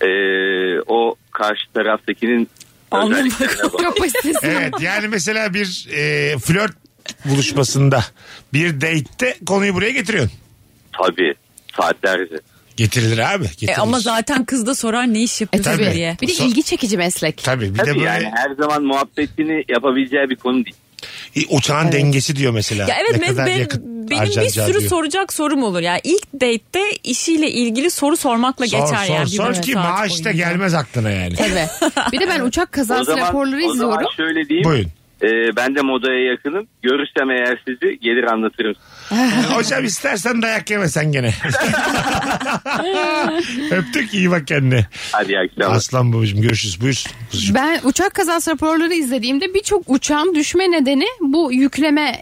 L: Ee, o karşı taraftakinin özelliklerine bak.
C: Kapasitesine
A: (laughs) Evet yani mesela bir e, flört buluşmasında bir date'te konuyu buraya getiriyorsun.
L: Tabii saatlerce.
A: Getirilir abi. Getirilir.
B: E, ama zaten kız da sorar ne iş
C: E
B: yapıyorsun
C: tabii.
B: diye.
C: Bir de ilgi çekici meslek.
A: Tabii bir de
L: Tabii
A: böyle
L: yani her zaman muhabbetini yapabileceği bir konu değil.
A: e, uçağın dengesi diyor mesela.
B: Ya
A: Ne
B: evet ben-
A: kadar
B: ben-
A: yakıt
B: benim bir
A: harcanacağı
B: sürü
A: diyor.
B: soracak sorum olur. Ya ilk date'te işiyle ilgili soru sormakla
A: Sor,
B: geçer
A: sor,
B: yani. bir
A: sor
B: buçuk
A: ki
B: saat (laughs)
A: maaş da
B: boyunca.
A: gelmez aklına
B: (laughs)
A: yani.
C: Tabii. Bir de ben uçak
L: O
C: kazası
L: zaman,
C: raporları
L: o zaman
C: izliyorum.
L: şöyle
B: (laughs)
L: diyeyim.
A: Buyurun.
L: Ee, ben de modaya yakınım. Görürsem eğer sizi gelir anlatırım.
A: Hocam istersen dayak yeme sen
B: (laughs)
A: gene. Öptük iyi bak kendine.
L: Hadi iyi akşamlar.
A: Aslan babacığım görüşürüz. Buyur. kuzucuğum.
C: Ben uçak kazası raporları izlediğimde birçok uçağın düşme nedeni bu yükleme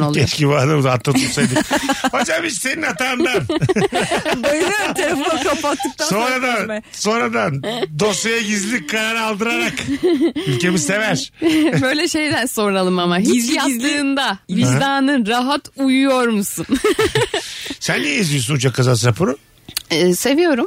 A: (laughs)
C: oluyor.
A: Keşke bu adamı da atlatılsaydık.
C: (laughs)
A: Hocam hiç senin hatandan. (laughs)
B: Bayılıyorum telefonu kapattıktan sonra.
A: Sonradan,
B: konuşmaya.
A: sonradan dosyaya gizlilik kararı
C: (laughs)
A: aldırarak ülkemi sever.
C: Böyle şeyden soralım ama. Hiç
B: Gizli gizli-
C: yattığında vicdanın rahat uyuyor musun?
A: Sen niye izliyorsun uçak kazası raporu?
C: (laughs) Ee, seviyorum.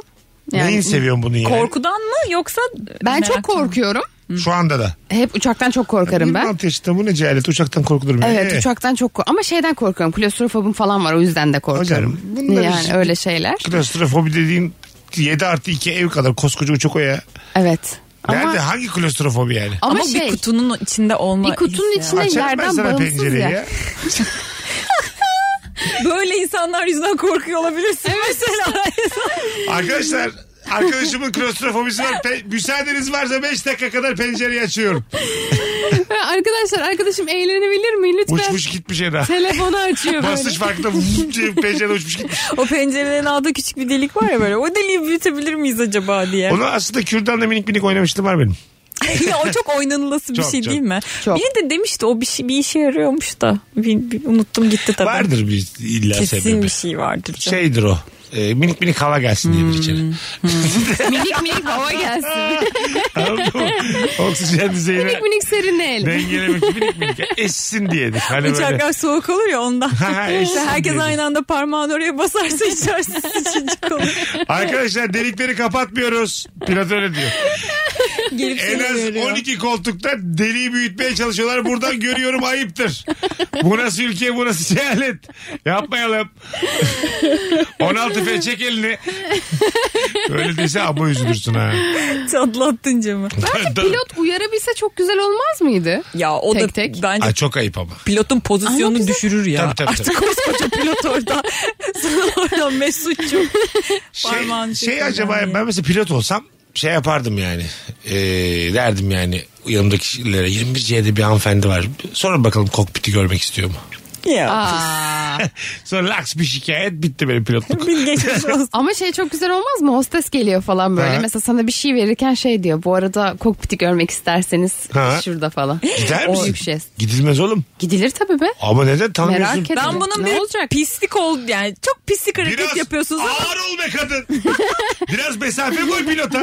C: Yani
A: Neyin seviyorsun bunu yani?
B: Korkudan mı yoksa?
C: Ben çok
B: Merak ediyorum.
C: korkuyorum.
A: Şu anda da.
C: Hep uçaktan çok korkarım ben.
A: 26 yaşında bu ne cehalet uçaktan korkulur mu?
C: Evet
A: Ee,
C: uçaktan çok korkuyorum. Ama şeyden korkuyorum. Klostrofobum falan var o yüzden de korkuyorum.
A: Hocam, bunlar
C: yani
A: işte-
C: öyle şeyler.
A: Klostrofobi dediğin 7 artı 2 ev kadar koskoca uçak o ya.
C: Evet. Ama,
A: Nerede hangi klostrofobi yani?
C: ama,
B: Ama,
C: şey
B: bir kutunun içinde olma.
C: bir kutunun
B: hissi.
C: içinde
A: Açarım ben
C: yerden
A: sana
C: bağımsız
A: pencereyi
C: ya.
A: ya.
B: Böyle insanlar yüzünden korkuyor olabilirsin. Mesela.
A: Arkadaşlar (laughs) arkadaşımın klostrofobisi var. Pe- müsaadeniz varsa 5 dakika kadar pencereyi açıyorum.
C: (laughs) Arkadaşlar arkadaşım eğlenebilir mi lütfen?
A: Uçmuş gitmiş Eda.
C: Telefonu açıyor böyle.
A: Basınç farkında vup diye pencere uçmuş
B: (laughs)
A: gitmiş.
B: O pencerenin altında küçük bir delik var ya böyle. O deliği büyütebilir miyiz acaba diye.
A: Onu aslında kürdanla minik minik oynamıştım var benim.
B: (laughs) ya o çok oynanılası bir
A: Çok,
B: şey
A: çok.
B: değil mi?
C: Çok.
B: Biri de demişti o bir, şey, bir işe yarıyormuş da. Bir- bir- unuttum gitti tabii.
A: Vardır bir illa
B: Kesin
A: sebebi.
B: bir şey vardır. canım.
A: Şeydir o. E, minik minik hava gelsin diye bir
B: Hmm. (laughs)
A: içeri.
C: minik minik (laughs) hava gelsin.
A: Anladın mı? Oksijen düzeyine
C: minik minik serinel.
A: dengelemek minik minik essin diyedir. Hani
B: İçerikler
A: böyle.
B: soğuk olur ya ondan.
A: Ha, eşsin
B: İşte herkes
A: diyelim.
B: aynı anda parmağını oraya basarsa içerisi (laughs) sıçıcık olur.
A: Arkadaşlar delikleri kapatmıyoruz. Pilot öyle diyor.
B: Gelip
A: En
B: seni
A: az
B: görüyor.
A: 12 koltukta deliği büyütmeye çalışıyorlar. Buradan görüyorum ayıptır. Bu nasıl ülke bu nasıl cehalet. Yapmayalım. 16 fe çek elini. Öyle dese ama üzülürsün ha.
B: Çatlattın camı.
C: Pilot uyarabilse çok güzel olmaz mıydı?
B: Ya o
C: Tek
B: da
C: tek.
B: bence
A: Ay, çok ayıp ama.
B: pilotun pozisyonunu düşürür ya.
A: Tabii, tabii, tabii.
B: Artık koskoca pilot (laughs) orada. Sana oradan Mesut'cum.
A: şey,
B: Parmağını
A: şey
B: çekiyor
A: acaba
B: yani.
A: ben mesela pilot olsam şey yapardım yani. Ee, derdim yani yanımdakilere 21C'de bir hanımefendi var. Sonra bakalım kokpiti görmek istiyor mu?
B: Ya.
C: Aa.
A: Sonra laks bir şikayet bitti benim pilotluk.
B: (laughs) Bir
A: (laughs)
B: geçmiş olsun.
C: (laughs) Ama şey çok güzel olmaz mı? Hostes geliyor falan böyle.
A: Ha.
C: Mesela sana bir şey verirken şey diyor. Bu arada kokpiti görmek isterseniz
A: Ha.
C: şurada falan.
A: Gider
C: O
A: misin?
C: bir şey.
A: Gidilmez oğlum.
C: Gidilir tabii be.
A: Ama neden tanımıyorsun?
C: Merak ederim.
B: Ben bunun
C: ne
B: bir
C: olacak?
B: pislik oldu yani. Çok pislik hareket
A: Biraz
B: yapıyorsunuz ama
A: ağır ol be kadın. (laughs) Biraz mesafe koy pilota.
B: (laughs)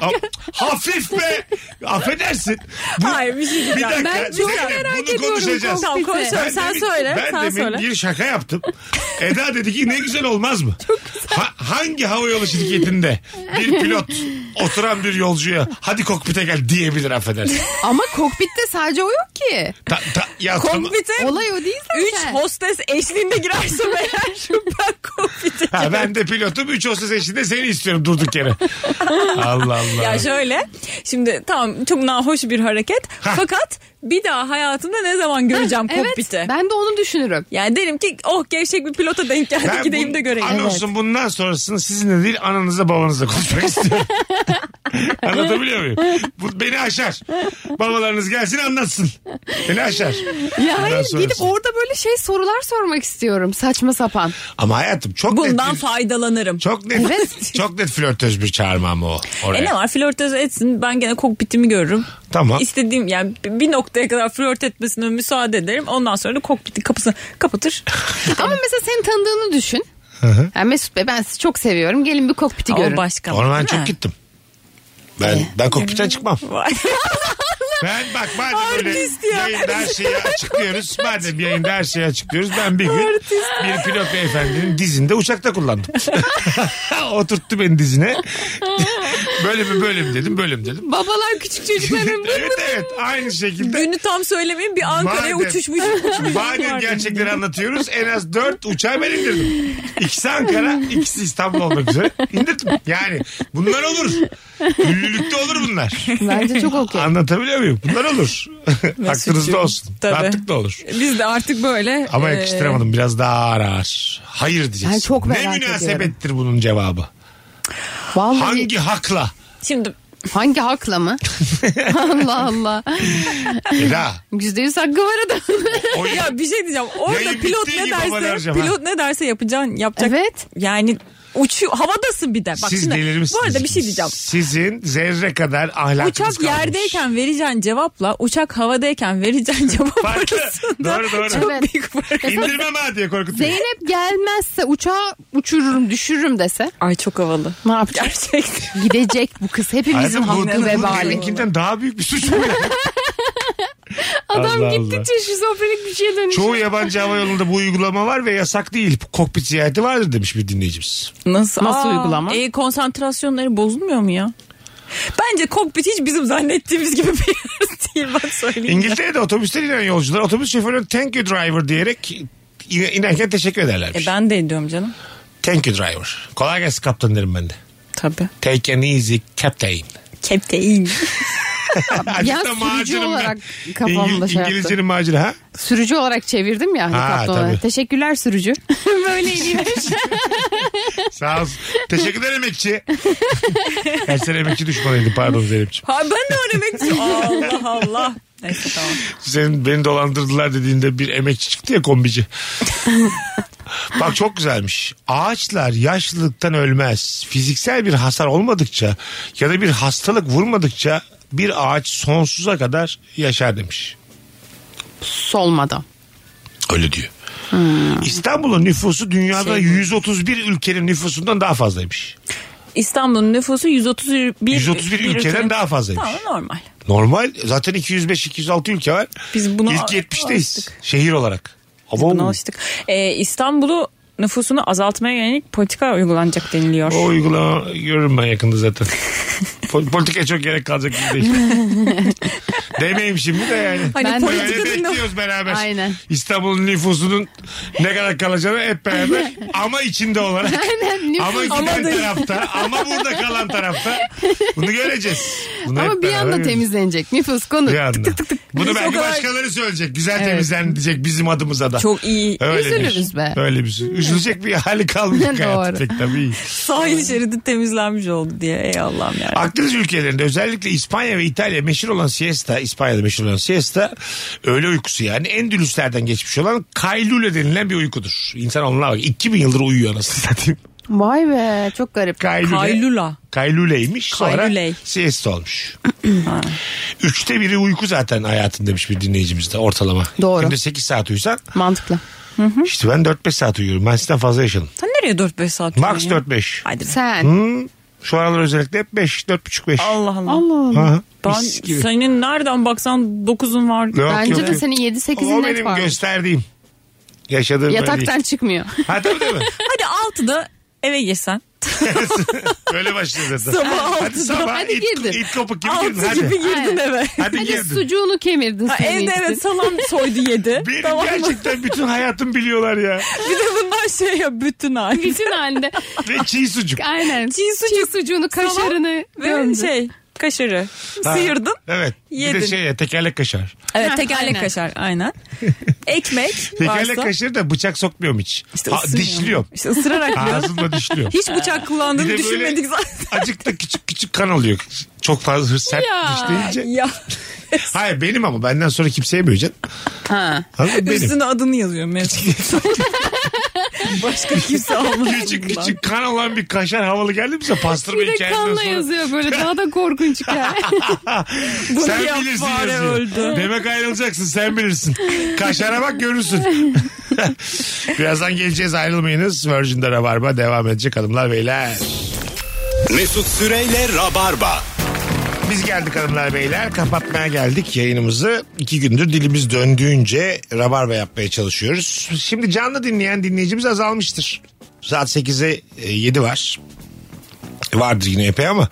A: Am- Hafif be. Affedersin. Bu-
B: Hayır bir şey
A: Bir
B: diyeceğim.
A: dakika.
C: Ben çok
A: Zeynep,
C: merak
A: bunu
C: ediyorum
A: konuşacağız.
B: Tamam konuşalım
A: Ben
B: sen
A: demin-
B: söyle.
A: Ben
B: sen
A: demin
B: söyle.
A: bir şaka yaptım. Eda dedi ki ne güzel olmaz mı? Çok güzel. hangi havayolu şirketinde bir pilot oturan bir yolcuya hadi kokpite gel diyebilir affedersin.
C: Ama kokpitte sadece o yok ki.
A: Ta, ta, ya, tamam.
B: Kokpite
C: Olay o değil zaten.
B: 3 hostes eşliğinde girerse
C: (laughs)
B: eğer ben kokpite
A: Ha, ben de pilotum 3 olsa seçtiğinde seni istiyorum durduk yere. Allah Allah.
B: Ya şöyle şimdi tamam çok nahoş bir hareket fakat bir daha hayatımda ne zaman göreceğim
C: Evet,
B: kokpiti?
C: ben de onu düşünürüm.
B: Yani derim ki oh gevşek bir pilota denk geldi
A: Ben
B: gideyim
A: bun-
B: de göreyim.
A: Anonsun bundan sonrasını sizinle değil ananızla babanızla konuşmak
B: (laughs)
A: istiyorum. Anlatabiliyor muyum? Bu beni aşar. Babalarınız gelsin anlatsın. Beni aşar.
C: Ya hayır gidip
A: sonrası.
C: orada böyle şey sorular sormak istiyorum saçma sapan.
A: Ama hayatım çok
B: Bundan
A: net. bir-
B: faydalanırım.
A: Çok net.
C: Evet.
A: Çok net flörtöz bir çağırma ama o. Oraya.
B: E ne var flörtöz etsin ben gene kokpitimi görürüm.
A: Tamam.
B: İstediğim yani bir noktaya kadar flört etmesine müsaade ederim. Ondan sonra da kokpitin kapısını kapatır.
C: Ama mesela senin tanıdığını düşün. Yani Mesut Bey ben sizi çok seviyorum. Gelin bir kokpiti görün. (laughs)
B: O başka.
A: Orman
B: Değil mi? E,
A: çok gittim. Ben ben kokpitten çıkmam.
B: (laughs) Vay.
A: Ben bak madem öyle
B: Artist ya.
A: yayında her şeyi
B: (laughs)
A: açıklıyoruz. madem yayında her şeyi açıklıyoruz. Ben bir gün bir pilot beyefendinin dizinde uçakta kullandım. (laughs) Oturttu beni dizine. (laughs) böyle mi böyle mi dedim böyle mi dedim.
C: Babalar küçük çocukların
A: (laughs)
B: (laughs)
A: evet evet aynı şekilde.
B: Günü tam söylemeyin bir Ankara'ya
A: Madem-
B: uçuşmuş. (laughs) uçmuş
A: Madem
B: vardı.
A: gerçekleri anlatıyoruz en az dört uçağı ben indirdim. İkisi Ankara, ikisi İstanbul olmak üzere indirdim. Yani bunlar olur. Ünlülükte olur bunlar.
C: bence çok okey.
A: Anlatabiliyor muyum? Bunlar olur. (laughs) Aklınızda olsun.
B: Tabii.
A: Rahatlıkla olur.
B: Biz de artık böyle.
A: Ama
B: e,
A: yakıştıramadım. Biraz daha ağır ağır. Hayır diyeceksin.
C: Ben çok merak
A: ne
C: ediyorum.
A: münasebettir bunun cevabı?
B: Ee,
C: Vallahi hangi,
A: Hangi hakla?
B: Şimdi
A: (laughs)
C: hakla mı? Allah Allah.
A: Eda.
C: Yüzde yüz hakkı var adamın.
A: O
B: ya bir şey diyeceğim. Orada
A: Yayın
B: pilot
A: bittiği
B: ne
A: gibi bana
B: derse
A: vereceğim ha.
B: pilot ne derse yapacaksın yapacak.
C: (laughs) evet.
B: Yani uçuyor havadasın bir de. Bak
A: siz
B: şimdi,
A: delir misiniz?
B: Bu arada bir şey diyeceğim.
A: Sizin zerre kadar ahlakınız
B: Uçak
A: kalmış.
B: yerdeyken vereceğin cevapla uçak havadayken vereceğin
A: (laughs)
B: cevap
A: Farklı.
B: arasında
A: Doğru, doğru.
B: çok
C: Evet.
B: büyük fark.
A: İndirmem ha diye korkutuyor.
C: Zeynep gelmezse uçağı uçururum düşürürüm dese
B: Ay çok havalı.
C: ne yapacak? (laughs)
B: Gerçekten.
C: Gidecek bu kız hepimizin
A: Hayatım, bu-
C: hakkı
A: bu
C: vebali.
A: benimkinden daha büyük bir suç
B: (laughs)
A: bu ya.
C: Adam
A: Allah
C: gittikçe şizofrenik bir şeye dönüşüyor.
A: Çoğu yabancı hava yolunda bu uygulama var ve yasak değil. Kokpit ziyareti vardır demiş bir dinleyicimiz.
B: Nasıl?
C: Nasıl uygulama?
B: E, konsantrasyonları bozulmuyor mu ya? Bence kokpit hiç bizim zannettiğimiz gibi bir yer değil bak söyleyeyim.
A: İngiltere'de otobüsten inen yolcular otobüs şoförüne thank you driver diyerek in- inerken teşekkür ederlermiş.
B: E, ben de ediyorum canım.
A: Thank you driver. Kolay gelsin kaptan derim ben de.
B: Tabii.
A: Take an easy captain. (laughs)
B: (laughs) Kepteğin.
A: Azıcık da
C: sürücü
A: macerim ben.
C: olarak kafamda
A: İngil-
C: şey yaptı.
A: İngilizcenin macera ha?
C: Sürücü olarak çevirdim ya.
A: Ha,
C: Ha,
A: tabii.
C: Teşekkürler (laughs) sürücü. Böyle iniyor.
A: Sağ
C: (laughs)
A: olsun. Teşekkür ederim emekçi. Her sene emekçi düşmanıydı pardon Zeynep'ciğim.
B: Ha ben de öyle bekliyorum. Allah Allah. Neyse tamam.
A: Senin beni dolandırdılar dediğinde bir emekçi çıktı ya
B: (laughs)
A: kombici. Bak çok güzelmiş. Ağaçlar yaşlılıktan ölmez. Fiziksel bir hasar olmadıkça ya da bir hastalık vurmadıkça bir ağaç sonsuza kadar yaşar demiş.
C: Solmadan.
A: Öyle diyor. İstanbul'un nüfusu dünyada
B: Hmm. Şey-
A: 131 ülkenin nüfusundan daha fazlaymış.
B: İstanbul'un nüfusu 131,
A: 131
B: bir
A: ülkeden daha fazlaymış.
B: Tamam normal.
A: Normal zaten 205-206 ülke var.
B: Biz buna
A: İlk 70'teyiz şehir olarak. Ama
B: Buna alıştık. Ee, İstanbul'u nüfusunu azaltmaya yönelik politika uygulanacak deniliyor.
A: O uygulama görürüm ben yakında
C: (laughs)
A: zaten. Pol- Politikaya çok gerek kalacak gibi değil. Demeyeyim şimdi de yani.
C: Ben
B: Hani
C: de-
A: Yani
B: politikanın da-
A: bekliyoruz beraber.
C: Aynen.
A: İstanbul'un nüfusunun ne kadar kalacağını hep
C: (laughs)
A: beraber ama içinde olarak.
C: Aynen,
A: ama
C: (laughs) hani nüfus-
A: giden
B: Ama da-
A: tarafta ama burada kalan tarafta bunu göreceğiz. Bunu hep
C: Ama bir
A: beraber
C: anda
A: göreceğiz.
C: temizlenecek. Nüfus konu.
A: Bir anda. Bunu
B: Biz o
A: belki
B: kadar-
A: başkaları söyleyecek. Güzel temizlendi diyecek bizim adımıza da. (laughs)
B: Çok iyi.
A: Öyle
C: Üzülürüz
A: bir- şey.
C: be.
A: Öyle bir Üzülecek bir hali kalmayacak hayatı
C: (laughs) Doğru.
A: pek tabii.
B: Sahil şeridi temizlenmiş oldu diye. Ey Allah'ım ya.
A: Akdeniz ülkelerinde özellikle İspanya ve İtalya meşhur olan siesta, İspanya'da meşhur olan siesta öğle uykusu yani Endülüslerden geçmiş olan kaylule denilen bir uykudur. İnsan onunla bak 2000 yıldır uyuyor anasını satayım.
C: Vay be çok garip.
A: Kaylule.
B: Kaylula.
A: Kayluleymiş sonra
B: Kayluley.
A: siesta
B: (clears throat)
A: olmuş. Üçte biri uyku zaten hayatın demiş bir dinleyicimiz de ortalama.
C: Doğru.
A: Günde 8 saat uyusan
C: Mantıklı.
A: işte ben 4-5 saat uyuyorum. Ben sizden fazla yaşadım.
B: Sen nereye 4-5 saat
A: Max
B: uyuyorsun ya?
A: 4-5.
B: Haydi. be.
C: Sen.
A: Hmm, şu aralar özellikle hep 5, 4,5-5.
B: Allah Allah.
C: Allah Allah.
B: Ben senin nereden baksan 9'un var.
C: Bence de senin 7-8'in
A: O
C: net
A: benim
C: var.
A: gösterdiğim. Yaşadığım böyle
C: Yataktan
A: değil.
C: çıkmıyor.
A: Ha tabii değil mi?
B: Hadi 6'da eve girsen.
A: Böyle başlıyor zaten.
B: Sabah
A: Hadi
B: altıda.
A: sabah
C: Hadi
A: it,
C: girdin.
A: it kopuk gibi girdin.
B: 6
A: Hadi.
B: gibi girdin
C: Aynen.
B: eve.
A: Hadi
C: Hadi
A: girdin.
C: sucuğunu kemirdin
B: Ha,
C: sen
B: evde
C: iyisi.
B: evet salam soydu yedi.
A: (laughs) Benim
B: tamam mı?
A: gerçekten bütün hayatım biliyorlar ya.
B: Bir de bunlar şey ya bütün
C: (laughs)
B: hali.
C: Bütün halde.
A: Ve çiğ sucuk.
C: Aynen.
B: Çiğ sucuk,
C: Çiğ sucuğunu, kaşarını
B: Ve
C: gömdü.
B: şey kaşarı sıyırdın.
A: Evet. Bir de
B: Yedin.
A: şey ya tekerlek kaşar.
B: Evet
C: Heh,
B: tekerlek
C: aynen.
B: kaşar
A: (laughs)
B: aynen. Ekmek
A: Tekerlek
B: varsa.
A: kaşarı da bıçak sokmuyorum hiç.
B: İşte
A: Ha,
B: ısırıyorum.
A: dişliyorum.
B: İşte ısırarak yiyorsun.
A: Ağzımla
B: (laughs)
A: dişliyorum.
B: Hiç bıçak
A: Bir de
B: kullandığını
A: böyle-
B: düşünmedik zaten.
A: Azıcık da küçük küçük kan oluyor. Çok fazla hırs- sert
C: Ya.
A: dişleyince.
B: (laughs) ya
A: Hayır benim ama benden sonra kimseye böleceksin.
C: Ha.
A: Anladın mı? Benim.
B: üstüne adını
A: (laughs)
B: yazıyor Mesut. Başka kimse almaz.
A: Küçük
B: bundan.
A: küçük kan olan bir kaşar havalı geldi mi sen pastırma
C: Bir de
A: hikayesinden
C: kanla
A: sonra?
C: yazıyor böyle daha da korkunç
B: (laughs)
C: ya.
A: sen
B: Buraya
A: bilirsin
B: fare
A: yazıyor.
B: öldü.
A: Demek ayrılacaksın sen bilirsin. Kaşara bak görürsün. Birazdan geleceğiz ayrılmayınız. Virgin'de Rabarba devam edecek hanımlar beyler.
I: Mesut Süreyle Rabarba.
A: Biz geldik hanımlar beyler. Kapatmaya geldik yayınımızı. İki gündür dilimiz döndüğünce rabarba yapmaya çalışıyoruz. Şimdi canlı dinleyen dinleyicimiz azalmıştır. Saat 8'e 7 var. Vardır yine epey ama.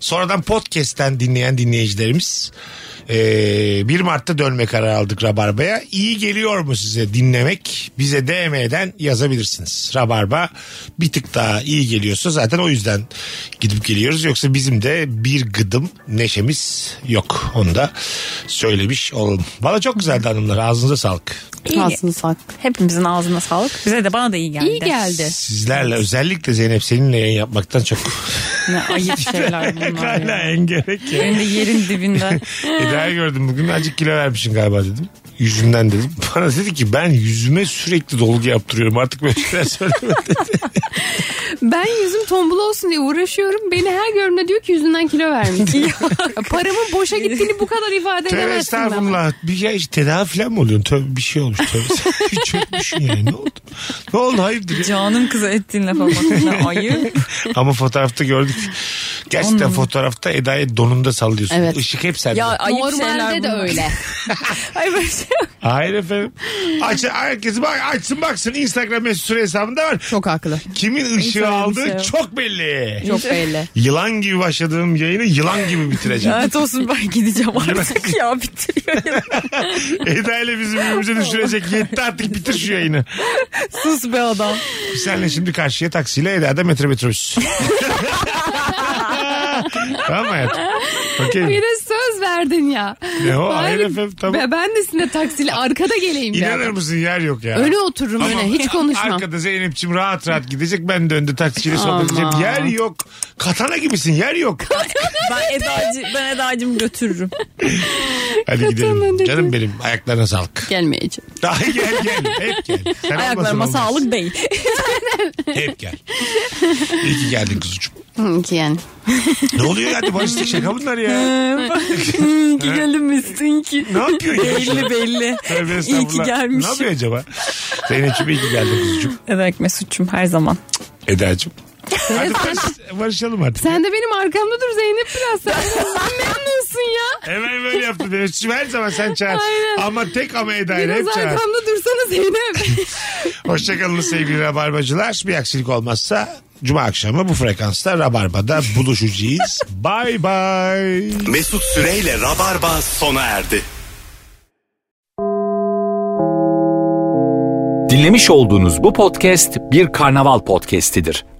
A: Sonradan podcast'ten dinleyen dinleyicilerimiz ee, 1 Mart'ta dönme kararı aldık Rabarba'ya. İyi geliyor mu size dinlemek? Bize DM'den yazabilirsiniz. Rabarba bir tık daha iyi geliyorsa zaten o yüzden gidip geliyoruz. Yoksa bizim de bir gıdım neşemiz yok. Onu da söylemiş olalım. Valla çok güzeldi hanımlar. Ağzınıza sağlık.
B: İyi.
C: Aslında sak.
B: Hepimizin ağzına sağlık. Bize de bana da iyi geldi.
C: İyi geldi.
A: Sizlerle özellikle Zeynep seninle yayın yapmaktan çok
B: Ne ayıp
A: (laughs)
B: şeyler bunlar
A: hala
B: ya.
A: en gerek. ya.
B: Benim de yerin dibinde.
A: E, Eda'yı gördüm bugün azıcık kilo vermişsin galiba dedim. Yüzünden dedim. (laughs) Bana dedi ki ben yüzüme sürekli dolgu yaptırıyorum artık böyle şeyler söyleme.
C: Ben yüzüm tombul olsun diye uğraşıyorum. Beni her görümde diyor ki yüzünden kilo
B: (laughs)
C: vermiş. Ya Paramın boşa gittiğini bu kadar ifade
A: Tövbe
C: edemezsin. ama.
A: estağfurullah. Bir ya işte tedavi falan mı oluyorsun? Tövbe bir şey olmuş. Tövbe. (laughs) Hiç çökmüşsün yani. Ne oldu? Ne oldu? Hayırdır? ya?
B: Canım kıza ettiğin lafa bakın. Ayıp.
A: Ama fotoğrafta gördük. Gerçekten fotoğrafta Eda'yı donunda sallıyorsun.
C: Evet.
A: Işık hep sende.
B: Ya ayıp şeyler
C: Normalde de
B: bunlar.
C: öyle.
B: (laughs) Ay böyle şey yok.
A: Hayır efendim. Aç, herkes bak, açsın baksın. Instagram mesut süre hesabında var.
C: Çok haklı.
A: Kimin ışığı
B: Instagram
A: aldığı
B: şey yok.
A: çok belli.
C: Çok belli.
A: Yılan gibi başladığım yayını yılan gibi bitireceğim.
B: Lanet olsun ben gideceğim artık ya bitiriyor. ya.
A: Eda ile bizi birbirimize düşürecek. Yetti artık bitir şu yayını.
B: (laughs) Sus be adam.
A: Biz Senle şimdi karşıya taksiyle Eda da metro
C: (laughs)
A: metrobüs. tamam hayatım. Okey.
C: Bir
A: mi?
C: de söz verdin ya.
A: Ne o?
C: Bari
A: Hayır efendim, tamam.
C: be- Ben de sizinle taksiyle arkada geleyim ya.
A: İnanır mısın yer yok ya.
C: Öne otururum
A: Tamam.
C: öne hiç konuşmam.
A: Arkada Zeynep'ciğim rahat rahat gidecek. Ben de önde taksiciyle sohbet
C: Aman.
A: edeceğim. Yer yok. Katana gibisin yer
C: (laughs)
A: yok.
B: Ben Eda'cı, ben Eda'cım götürürüm.
A: Hadi gidelim. Canım benim ayaklarına sağlık.
C: Gelmeyeceğim.
A: Daha gel gel. Hep gel. Sen
B: Ayaklarıma
A: olmasın olmaz.
B: sağlık değil.
A: Hep gel. İyi ki geldin kuzucuğum.
C: Hı, ki yani.
A: Ne oluyor ya? Barıştık şaka bunlar ya.
B: Gelmişsin ki.
A: Ne yapıyorsun? ya?
B: Belli belli.
A: Tövbe
B: İyi ki
A: estağfurullah. Ne
B: gelmişim.
A: yapıyor acaba? Zeynep'ciğim iyi ki geldin kuzucuğum.
B: Demek Mesut'cum her zaman. (laughs)
A: Eda'cığım. Hadi barış- barışalım artık.
C: Sen de benim arkamda dur Zeynep biraz. Sen memnunsun ya.
A: Hemen böyle yaptı. Mesut'cum her zaman sen çağır.
C: Aynen.
A: Ama tek ama Eda'yla hep
C: Biraz
A: çağır.
C: arkamda dursana Zeynep.
A: Hoşçakalın sevgili Rabarbacılar. Bir aksilik olmazsa Cuma akşamı bu frekansta Rabarba'da
B: (laughs)
A: buluşacağız. bye bye.
I: Mesut Süreyle Rabarba sona erdi.
M: Dinlemiş olduğunuz bu podcast bir karnaval podcastidir.